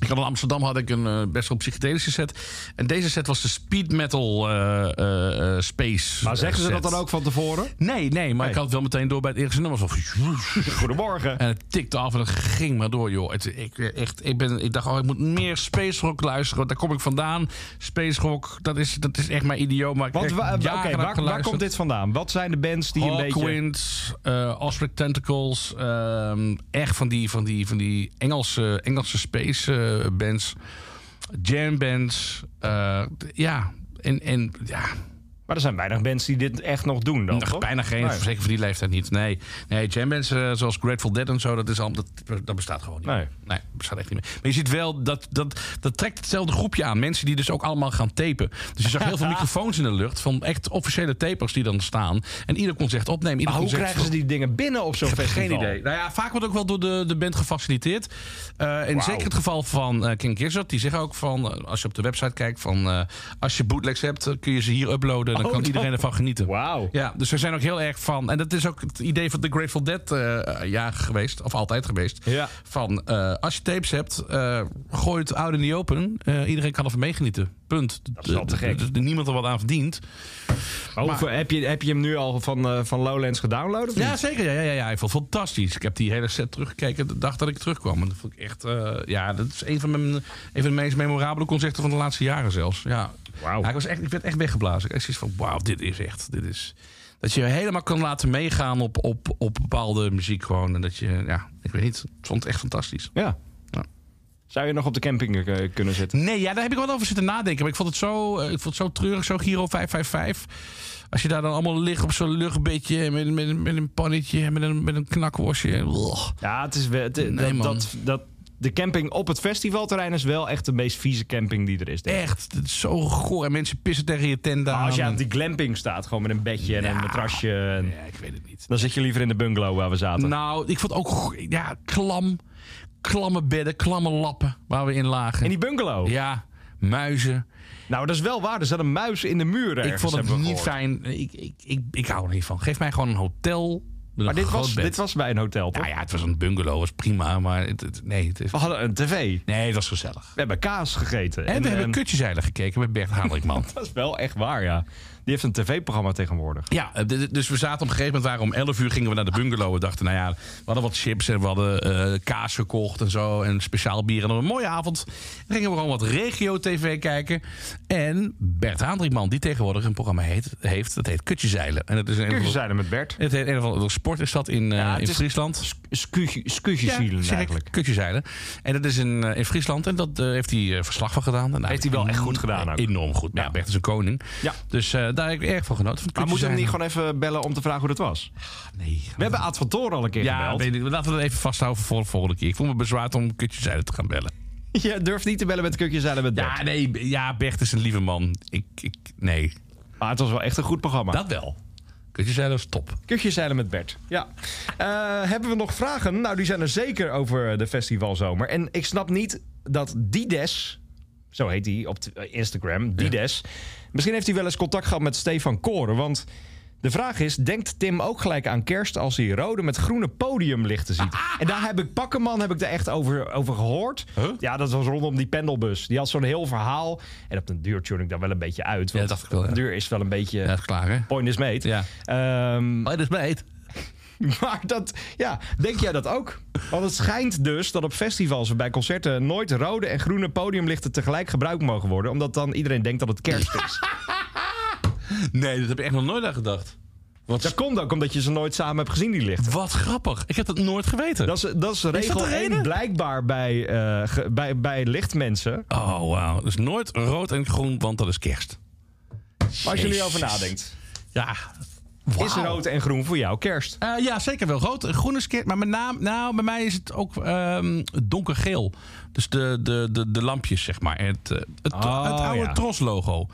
Speaker 2: Ik had in Amsterdam had ik een eh, best wel psychedelische set. En deze set was de speed metal eh, eh, eh, space.
Speaker 3: Maar zeggen ze
Speaker 2: eh,
Speaker 3: dat
Speaker 2: set.
Speaker 3: dan ook van tevoren?
Speaker 2: Nee, nee, maar
Speaker 3: Nee.
Speaker 2: ik had het wel meteen door bij het eerste nummer. Zo van-
Speaker 3: Goedemorgen.
Speaker 2: en het tikte af en het ging maar door, joh. Het, ik, echt, ik, ben, ik dacht, oh, ik moet meer Space Rock luisteren. Want daar kom ik vandaan. Space Rock, dat is, dat is echt mijn idioom. Maar ik
Speaker 3: Want
Speaker 2: heb
Speaker 3: wa-
Speaker 2: jaren
Speaker 3: wa- oké,
Speaker 2: naar
Speaker 3: waar, waar
Speaker 2: geluisterd.
Speaker 3: komt dit vandaan? Wat zijn de bands die een beetje...
Speaker 2: Hawkwind, eh, Osprey Tentacles. ehm, echt van die, van die, van die Engelse, Engelse space eh, bands. Jam bands. eh, ja, en, en ja,
Speaker 3: Maar er zijn weinig bands die dit echt nog doen dan,
Speaker 2: Ach,
Speaker 3: toch?
Speaker 2: Nou, bijna geen,
Speaker 3: Nee.
Speaker 2: zeker voor die leeftijd niet. Nee, nee jambands eh, zoals Grateful Dead en zo, dat, is al, dat, dat bestaat gewoon niet.
Speaker 3: Nee.
Speaker 2: meer. nee, dat bestaat echt niet meer. Maar je ziet wel, dat, dat, dat trekt hetzelfde groepje aan. Mensen die dus ook allemaal gaan tapen. Dus je zag heel veel microfoons in de lucht van echt officiële tapers die dan staan. En ieder kon zegt opnemen. Ieder
Speaker 3: Maar hoe
Speaker 2: kon zegt-
Speaker 3: krijgen ze die dingen binnen op zo'n
Speaker 2: ik heb geen
Speaker 3: festival?
Speaker 2: idee. Nou ja, vaak wordt ook wel door de, de band gefaciliteerd. Eh en zeker het geval van eh King Gizzard. Die zeggen ook van, eh, als je op de website kijkt... van eh, als je bootlegs hebt, eh, kun je ze hier uploaden. Dan
Speaker 3: Oh,
Speaker 2: kan
Speaker 3: dat-
Speaker 2: iedereen ervan genieten.
Speaker 3: Wauw.
Speaker 2: Ja, dus we zijn ook heel erg van... En dat is ook het idee van de Grateful Dead eh ja, geweest. Of altijd geweest.
Speaker 3: Ja.
Speaker 2: Van, eh, als je tapes hebt, eh, gooi het out in the open. Eh, iedereen kan ervan meegenieten. Punt. Dat
Speaker 3: is wel te gek.
Speaker 2: Niemand er wat aan verdient.
Speaker 3: Maar hoeveel- heb, je, heb je hem nu al van, eh, van Lowlands gedownload? Of
Speaker 2: Ja,
Speaker 3: niet?
Speaker 2: zeker. Ja, ja, ja, ja. Ik vond het fantastisch. Ik heb die hele set teruggekeken de dag dat ik terugkwam. En dat vond ik echt... eh, ja, dat is een van, mijn, een van de meest memorabele concerten van de laatste jaren zelfs. Ja,
Speaker 3: Wauw.
Speaker 2: Ja, ik, was echt, ik werd echt weggeblazen. Ik had zoiets van, wauw, dit is echt... Dit is, dat je helemaal kan laten meegaan op, op, op bepaalde muziek gewoon. En dat je, ja, ik weet niet. Ik vond het echt fantastisch.
Speaker 3: Ja. Nou,
Speaker 2: Ja.
Speaker 3: Zou je nog op de camping eh, kunnen zitten?
Speaker 2: Nee, ja, daar heb ik wel over zitten nadenken. Maar ik vond het zo, eh, ik vond het zo treurig, zo Giro 555. Als je daar dan allemaal ligt op zo'n luchtbedje... en Met, met, met een pannetje, en met een, met een knakwasje. en ugh.
Speaker 3: Ja, het is wel, het-
Speaker 2: Nee,
Speaker 3: dat,
Speaker 2: man.
Speaker 3: dat, dat, de camping op het festivalterrein is wel echt de meest vieze camping die er is. denk ik.
Speaker 2: Echt, het is zo goor. En mensen pissen tegen je tent aan.
Speaker 3: Maar als je aan
Speaker 2: en-
Speaker 3: die glamping staat, gewoon met een bedje en een
Speaker 2: Ja.
Speaker 3: matrasje. en-
Speaker 2: Ja, ik weet het niet.
Speaker 3: dan zit je liever in de bungalow waar we zaten.
Speaker 2: Nou, ik vond ook go- ja, klam. Klamme bedden, klamme lappen waar we in lagen.
Speaker 3: in die bungalow?
Speaker 2: Ja, muizen.
Speaker 3: Nou, dat is wel waar. Er zat een muis in de muur ergens,
Speaker 2: ik vond het
Speaker 3: hebben we
Speaker 2: niet
Speaker 3: gehoord.
Speaker 2: fijn. Ik, ik, ik, ik hou er niet van. Geef mij gewoon een hotel. Met
Speaker 3: Maar
Speaker 2: een
Speaker 3: dit
Speaker 2: groot
Speaker 3: was,
Speaker 2: bed.
Speaker 3: dit was bij een hotel, toch?
Speaker 2: Nou ja, het was een bungalow, was prima. Maar het, het- nee, het, is-
Speaker 3: We hadden een tv.
Speaker 2: nee, het was gezellig.
Speaker 3: We hebben kaas gegeten.
Speaker 2: En, we hebben
Speaker 3: ehm,
Speaker 2: kutjeseilen gekeken met Bert Hanelikman.
Speaker 3: Dat is wel echt waar, ja. Die heeft een tv-programma tegenwoordig.
Speaker 2: Ja, eh, d- d- dus we zaten op een gegeven moment, waren om 11 uur gingen we naar de bungalow. We dachten, nou ja, we hadden wat chips en we hadden eh, kaas gekocht en zo. En speciaal bier en dan een mooie avond. Dan gingen we gewoon wat regio-tv kijken. En Bert Haandrikman, die tegenwoordig een programma heet, heeft, dat heet Kutjezeilen. En dat is een
Speaker 3: Kun je
Speaker 2: Van,
Speaker 3: zijn met Bert.
Speaker 2: het heet een of andere sport is dat in, eh,
Speaker 3: Ja, het
Speaker 2: in
Speaker 3: is-
Speaker 2: Friesland.
Speaker 3: Skuutjesielen
Speaker 2: zeg ik,
Speaker 3: eigenlijk.
Speaker 2: Kutjezeilen. En dat is in, eh, in Friesland. En dat eh, heeft hij eh, verslag van gedaan. En nou,
Speaker 3: Heeft hij wel echt goed gedaan ook.
Speaker 2: Enorm goed. Maar ja, Bert is een koning.
Speaker 3: Ja.
Speaker 2: Dus eh, daar heb ik erg van genoten. Van
Speaker 3: Maar moeten we hem
Speaker 2: Kutjezeilen.
Speaker 3: niet gewoon even bellen om te vragen hoe dat was?
Speaker 2: Nee,
Speaker 3: We hebben Ad van Toren al een keer
Speaker 2: Ja,
Speaker 3: gebeld.
Speaker 2: weet ik. laten we dat even vasthouden voor de volgende keer. Ik voel me bezwaard om kutjes uit te gaan bellen.
Speaker 3: Je durft niet te bellen met Kukjes en met Bert.
Speaker 2: Ja, nee, B- ja, Bert is een lieve man. Ik, ik, nee,
Speaker 3: Maar het was wel echt een goed programma.
Speaker 2: dat wel. Kutjes uit is top.
Speaker 3: Kutjes zeilen met Bert. Ja. Eh, hebben we nog vragen? Nou, die zijn er zeker over de festivalzomer. En ik snap niet dat Dides, zo heet hij op t- eh, Instagram, Dides. Misschien heeft hij wel eens contact gehad met Stefan Koren. Want de vraag is: denkt Tim ook gelijk aan kerst als hij rode met groene podiumlichten
Speaker 2: Ah.
Speaker 3: ziet? En daar heb ik Pakkenman heb ik daar echt over, over gehoord. Ja, dat was rondom die pendelbus. Die had zo'n heel verhaal. En op den duur tune ik daar wel een beetje uit. Want
Speaker 2: dacht ik wel,
Speaker 3: op den
Speaker 2: ja.
Speaker 3: duur is wel een beetje.
Speaker 2: Ja, dat is klaar, hè?
Speaker 3: Point is made.
Speaker 2: Ja.
Speaker 3: Ehm,
Speaker 2: Maar dat is meet.
Speaker 3: maar dat, ja, denk jij dat ook? Want het schijnt dus dat op festivals en bij concerten nooit rode en groene podiumlichten tegelijk gebruikt mogen worden. Omdat dan iedereen denkt dat het kerst is.
Speaker 2: Nee, dat heb ik echt nog nooit aan gedacht. Wat,
Speaker 3: dat komt ook omdat je ze nooit samen hebt gezien, die lichten.
Speaker 2: wat grappig. Ik heb dat nooit geweten.
Speaker 3: Dat is, dat is regel
Speaker 2: de
Speaker 3: één
Speaker 2: reden?
Speaker 3: blijkbaar bij, eh, ge- bij, bij lichtmensen.
Speaker 2: Oh, wauw. Dus nooit rood en groen, want dat is kerst.
Speaker 3: Maar als je er nu
Speaker 2: Jezus.
Speaker 3: over nadenkt.
Speaker 2: Ja. Wauw.
Speaker 3: Is rood en groen voor jou kerst?
Speaker 2: Eh, ja, zeker wel. Rood, groen is kerst. Maar met naam, nou, bij mij is het ook ehm, donkergeel. Dus de, de, de, de lampjes, zeg maar. Het, eh, het,
Speaker 3: Oh,
Speaker 2: het oude
Speaker 3: ja.
Speaker 2: Tros-logo.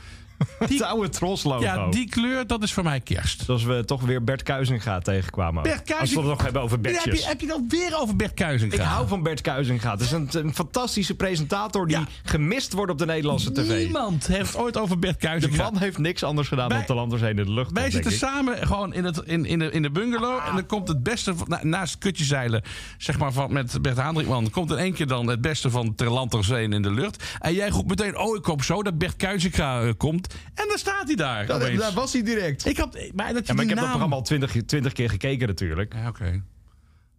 Speaker 3: Het oude Tros-logo.
Speaker 2: Ja, die kleur, dat is voor mij kerst.
Speaker 3: Zoals we toch weer Bert Kuizinga tegenkwamen. ook.
Speaker 2: Bert Kuizinga-
Speaker 3: Als we het nog hebben over
Speaker 2: Ja, Heb
Speaker 3: Bertjes.
Speaker 2: je, heb je dan weer over Bert Kuizinga?
Speaker 3: Ik hou van Bert Kuizinga. Het is een, een fantastische presentator die
Speaker 2: Ja.
Speaker 3: gemist wordt op de Nederlandse tv.
Speaker 2: Niemand heeft ooit over Bert
Speaker 3: De
Speaker 2: Kuizinga.
Speaker 3: man heeft niks anders gedaan dan
Speaker 2: Wij-
Speaker 3: te landers heen in de lucht.
Speaker 2: Wij
Speaker 3: denk
Speaker 2: zitten
Speaker 3: ik. Ah.
Speaker 2: samen gewoon in, het, in, in, de, in de bungalow. En dan komt het beste van- na- naast kutjeseilen, zeg maar, van, met Bert Hendrikman. Komt in één keer dan het beste van Ter Lanterzeen in de lucht. En jij roept meteen: Oh, ik hoop zo dat Bert Kuizinga eh, komt. En dan staat hij daar.
Speaker 3: Dat-
Speaker 2: opeens.
Speaker 3: daar was hij direct.
Speaker 2: ik had, maar dat je
Speaker 3: Ja, maar ik
Speaker 2: die
Speaker 3: heb dat
Speaker 2: naam-
Speaker 3: programma al twintig, keer gekeken natuurlijk. Dus
Speaker 2: Ja, oké.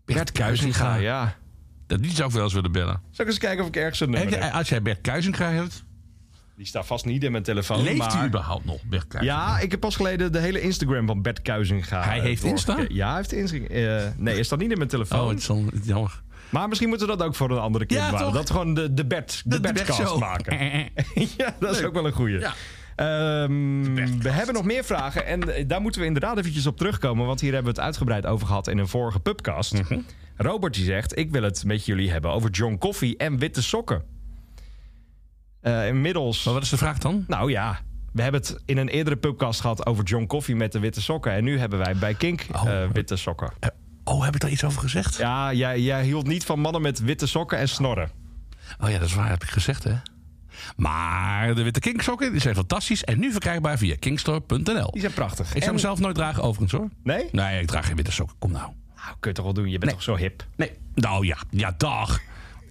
Speaker 2: Bert
Speaker 3: Hm.
Speaker 2: Kuizinga. Ja.
Speaker 3: ja.
Speaker 2: Die zou ik wel eens willen bellen.
Speaker 3: Zal ik eens kijken of ik ergens een
Speaker 2: Heb
Speaker 3: nummer
Speaker 2: je-
Speaker 3: heb?
Speaker 2: als jij Bert Kuizinga hebt,
Speaker 3: Die staat vast niet in mijn telefoon.
Speaker 2: leeft
Speaker 3: Oh, maar...
Speaker 2: hij überhaupt nog, Bert Kuizinga?
Speaker 3: Ja, ik heb pas geleden de hele Instagram van Bert Kuizinga.
Speaker 2: Hij
Speaker 3: eh,
Speaker 2: heeft Insta?
Speaker 3: doorgekeken. Ja, hij heeft Insta. eh, nee, is dat niet in mijn
Speaker 2: Oh,
Speaker 3: telefoon.
Speaker 2: het is dan het is jammer.
Speaker 3: Maar misschien moeten we dat ook voor een andere keer
Speaker 2: Ja,
Speaker 3: bewaren.
Speaker 2: toch?
Speaker 3: Dat we gewoon de, de Bert, de, Eh, Bertcast maken. ja, dat is ook wel een goeie.
Speaker 2: Ja.
Speaker 3: Ehm, we hebben nog meer vragen en eh, daar moeten we inderdaad eventjes op terugkomen. Want hier hebben we het uitgebreid over gehad in een vorige pubcast.
Speaker 2: Mhm.
Speaker 3: Robert die zegt, ik wil het met jullie hebben over John Coffee en witte sokken. Eh, inmiddels...
Speaker 2: Maar wat is de vraag dan?
Speaker 3: Nou ja, we hebben het in een eerdere pubcast gehad over John Coffee met de witte sokken. En nu hebben wij bij Kink eh, witte sokken.
Speaker 2: Eh, Oh, heb ik daar iets over gezegd?
Speaker 3: Ja, jij, jij hield niet van mannen met witte sokken en snorren.
Speaker 2: Oh ja, dat is waar, heb ik gezegd, hè? Maar de witte kinksokken die zijn fantastisch en nu verkrijgbaar via kingstore.nl.
Speaker 3: Die zijn prachtig.
Speaker 2: Ik zou
Speaker 3: En-
Speaker 2: mezelf nooit dragen, overigens, hoor.
Speaker 3: Nee?
Speaker 2: Nee, ik draag geen witte sokken. Kom nou.
Speaker 3: Nou, kun je toch wel doen. Je bent toch zo hip.
Speaker 2: Nee. Nou ja, ja, dag.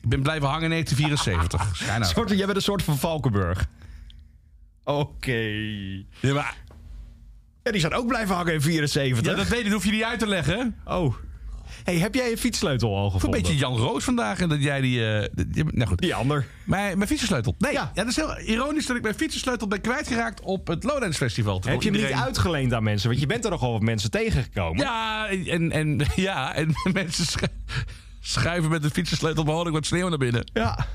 Speaker 2: Ik ben blijven hangen in 1974. Schijn nou. uit.
Speaker 3: Soort, jij bent een soort van Valkenburg. Oké.
Speaker 2: Ja, maar,
Speaker 3: Ja, die zijn ook blijven hangen in 74.
Speaker 2: ja, dat weet ik, dat hoef je niet uit te leggen.
Speaker 3: Oh. Hey, heb jij een fietssleutel al
Speaker 2: Een
Speaker 3: gevonden?
Speaker 2: beetje Jan Roos vandaag en dat jij die... eh, die- die- nou goed.
Speaker 3: Die ander.
Speaker 2: Mijn, mijn fietsensleutel. Nee,
Speaker 3: Ja.
Speaker 2: ja. dat is heel ironisch dat ik mijn fietsensleutel ben kwijtgeraakt op het Lowlands Festival. Terwijl
Speaker 3: Heb je hem niet
Speaker 2: iedereen-
Speaker 3: uitgeleend aan mensen? Want je bent er nogal wat mensen tegengekomen.
Speaker 2: Ja, en, en, ja, en mensen schu- schuiven met de fietsensleutel behoorlijk wat sneeuw naar binnen.
Speaker 3: ja.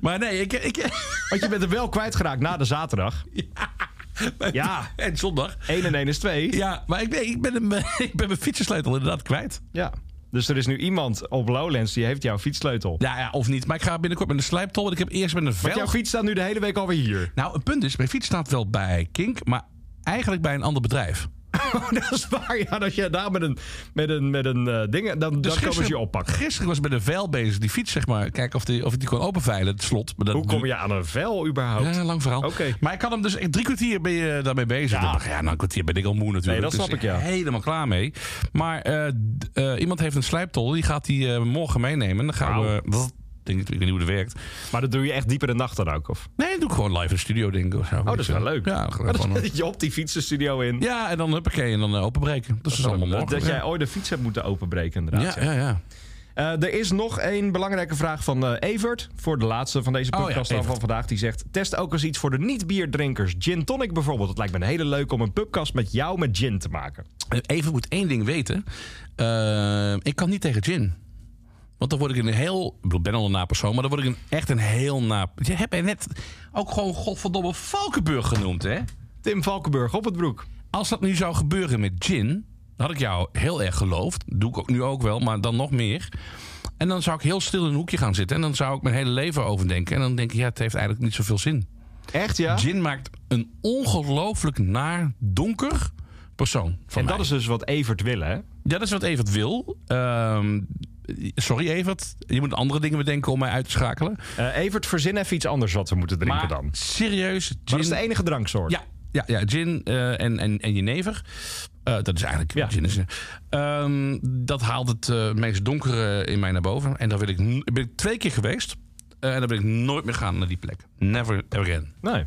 Speaker 2: Maar nee, ik... ik
Speaker 3: Want je bent er wel kwijtgeraakt na de zaterdag. Ja.
Speaker 2: en zondag.
Speaker 3: 1 en 1 is 2.
Speaker 2: Ja, maar ik, nee, ik, ben, hem, eh, ik ben mijn fietsensleutel inderdaad kwijt.
Speaker 3: Ja. Dus er is nu iemand op Lowlands die heeft jouw fietssleutel.
Speaker 2: Ja, ja, of niet. Maar ik ga binnenkort met een slijptol. Want ik heb eerst met een
Speaker 3: Want jouw
Speaker 2: velg...
Speaker 3: fiets staat nu de hele week alweer hier.
Speaker 2: Nou, het punt is, mijn fiets staat wel bij Kink, maar eigenlijk bij een ander bedrijf.
Speaker 3: Oh, dat is waar. Ja, als je daar met een, met een, met een eh, ding... Dan, dan komen ze je oppakken.
Speaker 2: Dus Gisteren was ik met een vel bezig, die fiets zeg maar. Kijken of, die, of ik die kon openveilen, het slot. Maar dat,
Speaker 3: Hoe kom je aan een vel überhaupt?
Speaker 2: Ja, lang verhaal.
Speaker 3: Oké.
Speaker 2: Maar ik had hem dus echt drie kwartier ben je daarmee bezig.
Speaker 3: Ja.
Speaker 2: Ja, ja nou, een kwartier ben ik al moe natuurlijk.
Speaker 3: Nee, dat
Speaker 2: Dus
Speaker 3: snap ik, ja.
Speaker 2: Helemaal klaar mee. Maar eh, d- eh, iemand heeft een slijptol. Die gaat die eh, morgen meenemen. En dan gaan
Speaker 3: Wauw.
Speaker 2: we... Dat, denk ik, ik weet niet hoe dat werkt.
Speaker 3: Maar dat doe je echt dieper de nacht dan ook, of?
Speaker 2: Nee, dat doe ik gewoon live in de studio, denk ik. Of zo.
Speaker 3: Oh, dat is wel leuk.
Speaker 2: Ja,
Speaker 3: Maar
Speaker 2: gewoon,
Speaker 3: dat je op die fietsenstudio in.
Speaker 2: ja en dan huppakee en dan eh, openbreken. Dat is dus allemaal morgen.
Speaker 3: Dat jij ooit de fiets hebt moeten openbreken, inderdaad.
Speaker 2: ja, ja, ja.
Speaker 3: Eh, er is nog één belangrijke vraag van eh, Evert. Voor de laatste van deze
Speaker 2: Oh ja,
Speaker 3: podcast dan
Speaker 2: Evert.
Speaker 3: van vandaag. Die zegt: Test ook eens iets voor de niet-bierdrinkers. Gin tonic bijvoorbeeld. Het lijkt me een hele leuk om een pubkast met jou met gin te maken.
Speaker 2: Even moet één ding weten. Eh, ik kan niet tegen gin. Want dan word ik een heel... Ik bedoel, ik ben al een napersoon, maar dan word ik een, echt een heel na... Je hebt mij net ook gewoon godverdomme Valkenburg genoemd, hè?
Speaker 3: Tim Valkenburg op het broek.
Speaker 2: Als dat nu zou gebeuren met gin... dan had ik jou heel erg geloofd. Doe ik ook nu ook wel, maar dan nog meer. En dan zou ik heel stil in een hoekje gaan zitten. En dan zou ik mijn hele leven overdenken. En dan denk ik, ja, het heeft eigenlijk niet zoveel zin.
Speaker 3: Echt ja?
Speaker 2: Gin maakt een ongelooflijk naar, donker persoon. Van
Speaker 3: en
Speaker 2: mij.
Speaker 3: dat is dus wat Evert wil, hè?
Speaker 2: Ja, dat is wat Evert wil. Ehm, sorry, Evert. Je moet andere dingen bedenken om mij uit te schakelen.
Speaker 3: Eh, Evert, verzin even iets anders wat we moeten drinken
Speaker 2: Maar
Speaker 3: dan. Maar
Speaker 2: serieus, gin.
Speaker 3: dat is de e- enige dranksoort.
Speaker 2: ja, ja, ja, gin eh, en, en, en jenever. Eh, dat is eigenlijk
Speaker 3: Ja.
Speaker 2: gin. Is, eh. Ehm, dat haalt het eh, meest donkere in mij naar boven. En daar wil ik, n- ben ik twee keer geweest. Eh, en daar ben ik nooit meer gaan naar die plek. Never ever again.
Speaker 3: Nee.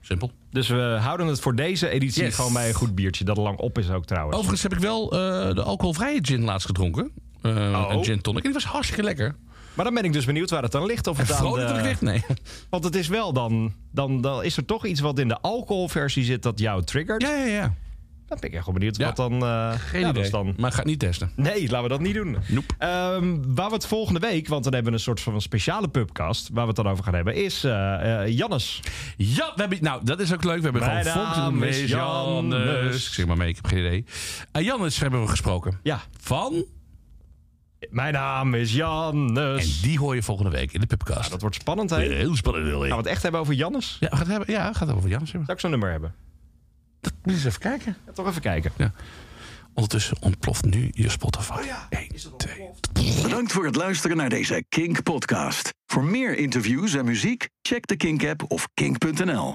Speaker 2: Simpel.
Speaker 3: Dus we houden het voor deze editie
Speaker 2: Yes.
Speaker 3: gewoon bij een goed biertje. Dat al lang op is ook trouwens.
Speaker 2: Overigens heb ik wel eh, de alcoholvrije gin laatst gedronken. Eh,
Speaker 3: Oh.
Speaker 2: Een gin tonic. En die was hartstikke lekker.
Speaker 3: Maar dan ben ik dus benieuwd waar het dan eh, ligt. Of het aan
Speaker 2: Vrolijk
Speaker 3: de-
Speaker 2: dat ik dacht, nee.
Speaker 3: Want het is wel dan, dan, dan is er toch iets wat in de alcoholversie zit dat jou triggert.
Speaker 2: Ja, ja, ja.
Speaker 3: Dan ben ik echt wel benieuwd
Speaker 2: Ja.
Speaker 3: wat dan. eh,
Speaker 2: Geen
Speaker 3: ja, dat
Speaker 2: idee.
Speaker 3: is dan.
Speaker 2: Maar ga het niet testen.
Speaker 3: Nee, laten we dat niet doen.
Speaker 2: Noep.
Speaker 3: Ehm, waar we het volgende week, want dan hebben we een soort van speciale pubcast, waar we het dan over gaan hebben, is eh, eh, Jannes.
Speaker 2: Ja, we hebben, nou, dat is ook leuk. We hebben
Speaker 3: Mijn
Speaker 2: gewoon
Speaker 3: naam
Speaker 2: Volks-
Speaker 3: is Jannes.
Speaker 2: Jannes. Ik zeg maar mee, ik heb geen idee. En Jannes hebben we gesproken.
Speaker 3: Ja,
Speaker 2: Van?
Speaker 3: mijn naam is
Speaker 2: En
Speaker 3: Jannes.
Speaker 2: die hoor je volgende week in de podcast.
Speaker 3: Dat wordt spannend, hè? Gaan
Speaker 2: Heel spannend, wil
Speaker 3: we
Speaker 2: ik.
Speaker 3: het echt hebben over Jannes?
Speaker 2: Ja, gaat het hebben, ja, gaat het over Jannes hebben.
Speaker 3: Zou ik zo'n nummer hebben?
Speaker 2: Moet eens even kijken.
Speaker 3: Ja, toch even kijken.
Speaker 2: Ondertussen ontploft nu je Spotify. Eén, twee.
Speaker 1: Bedankt voor het luisteren naar deze Kink podcast. Voor meer interviews en muziek, check de Kink app of kink.nl.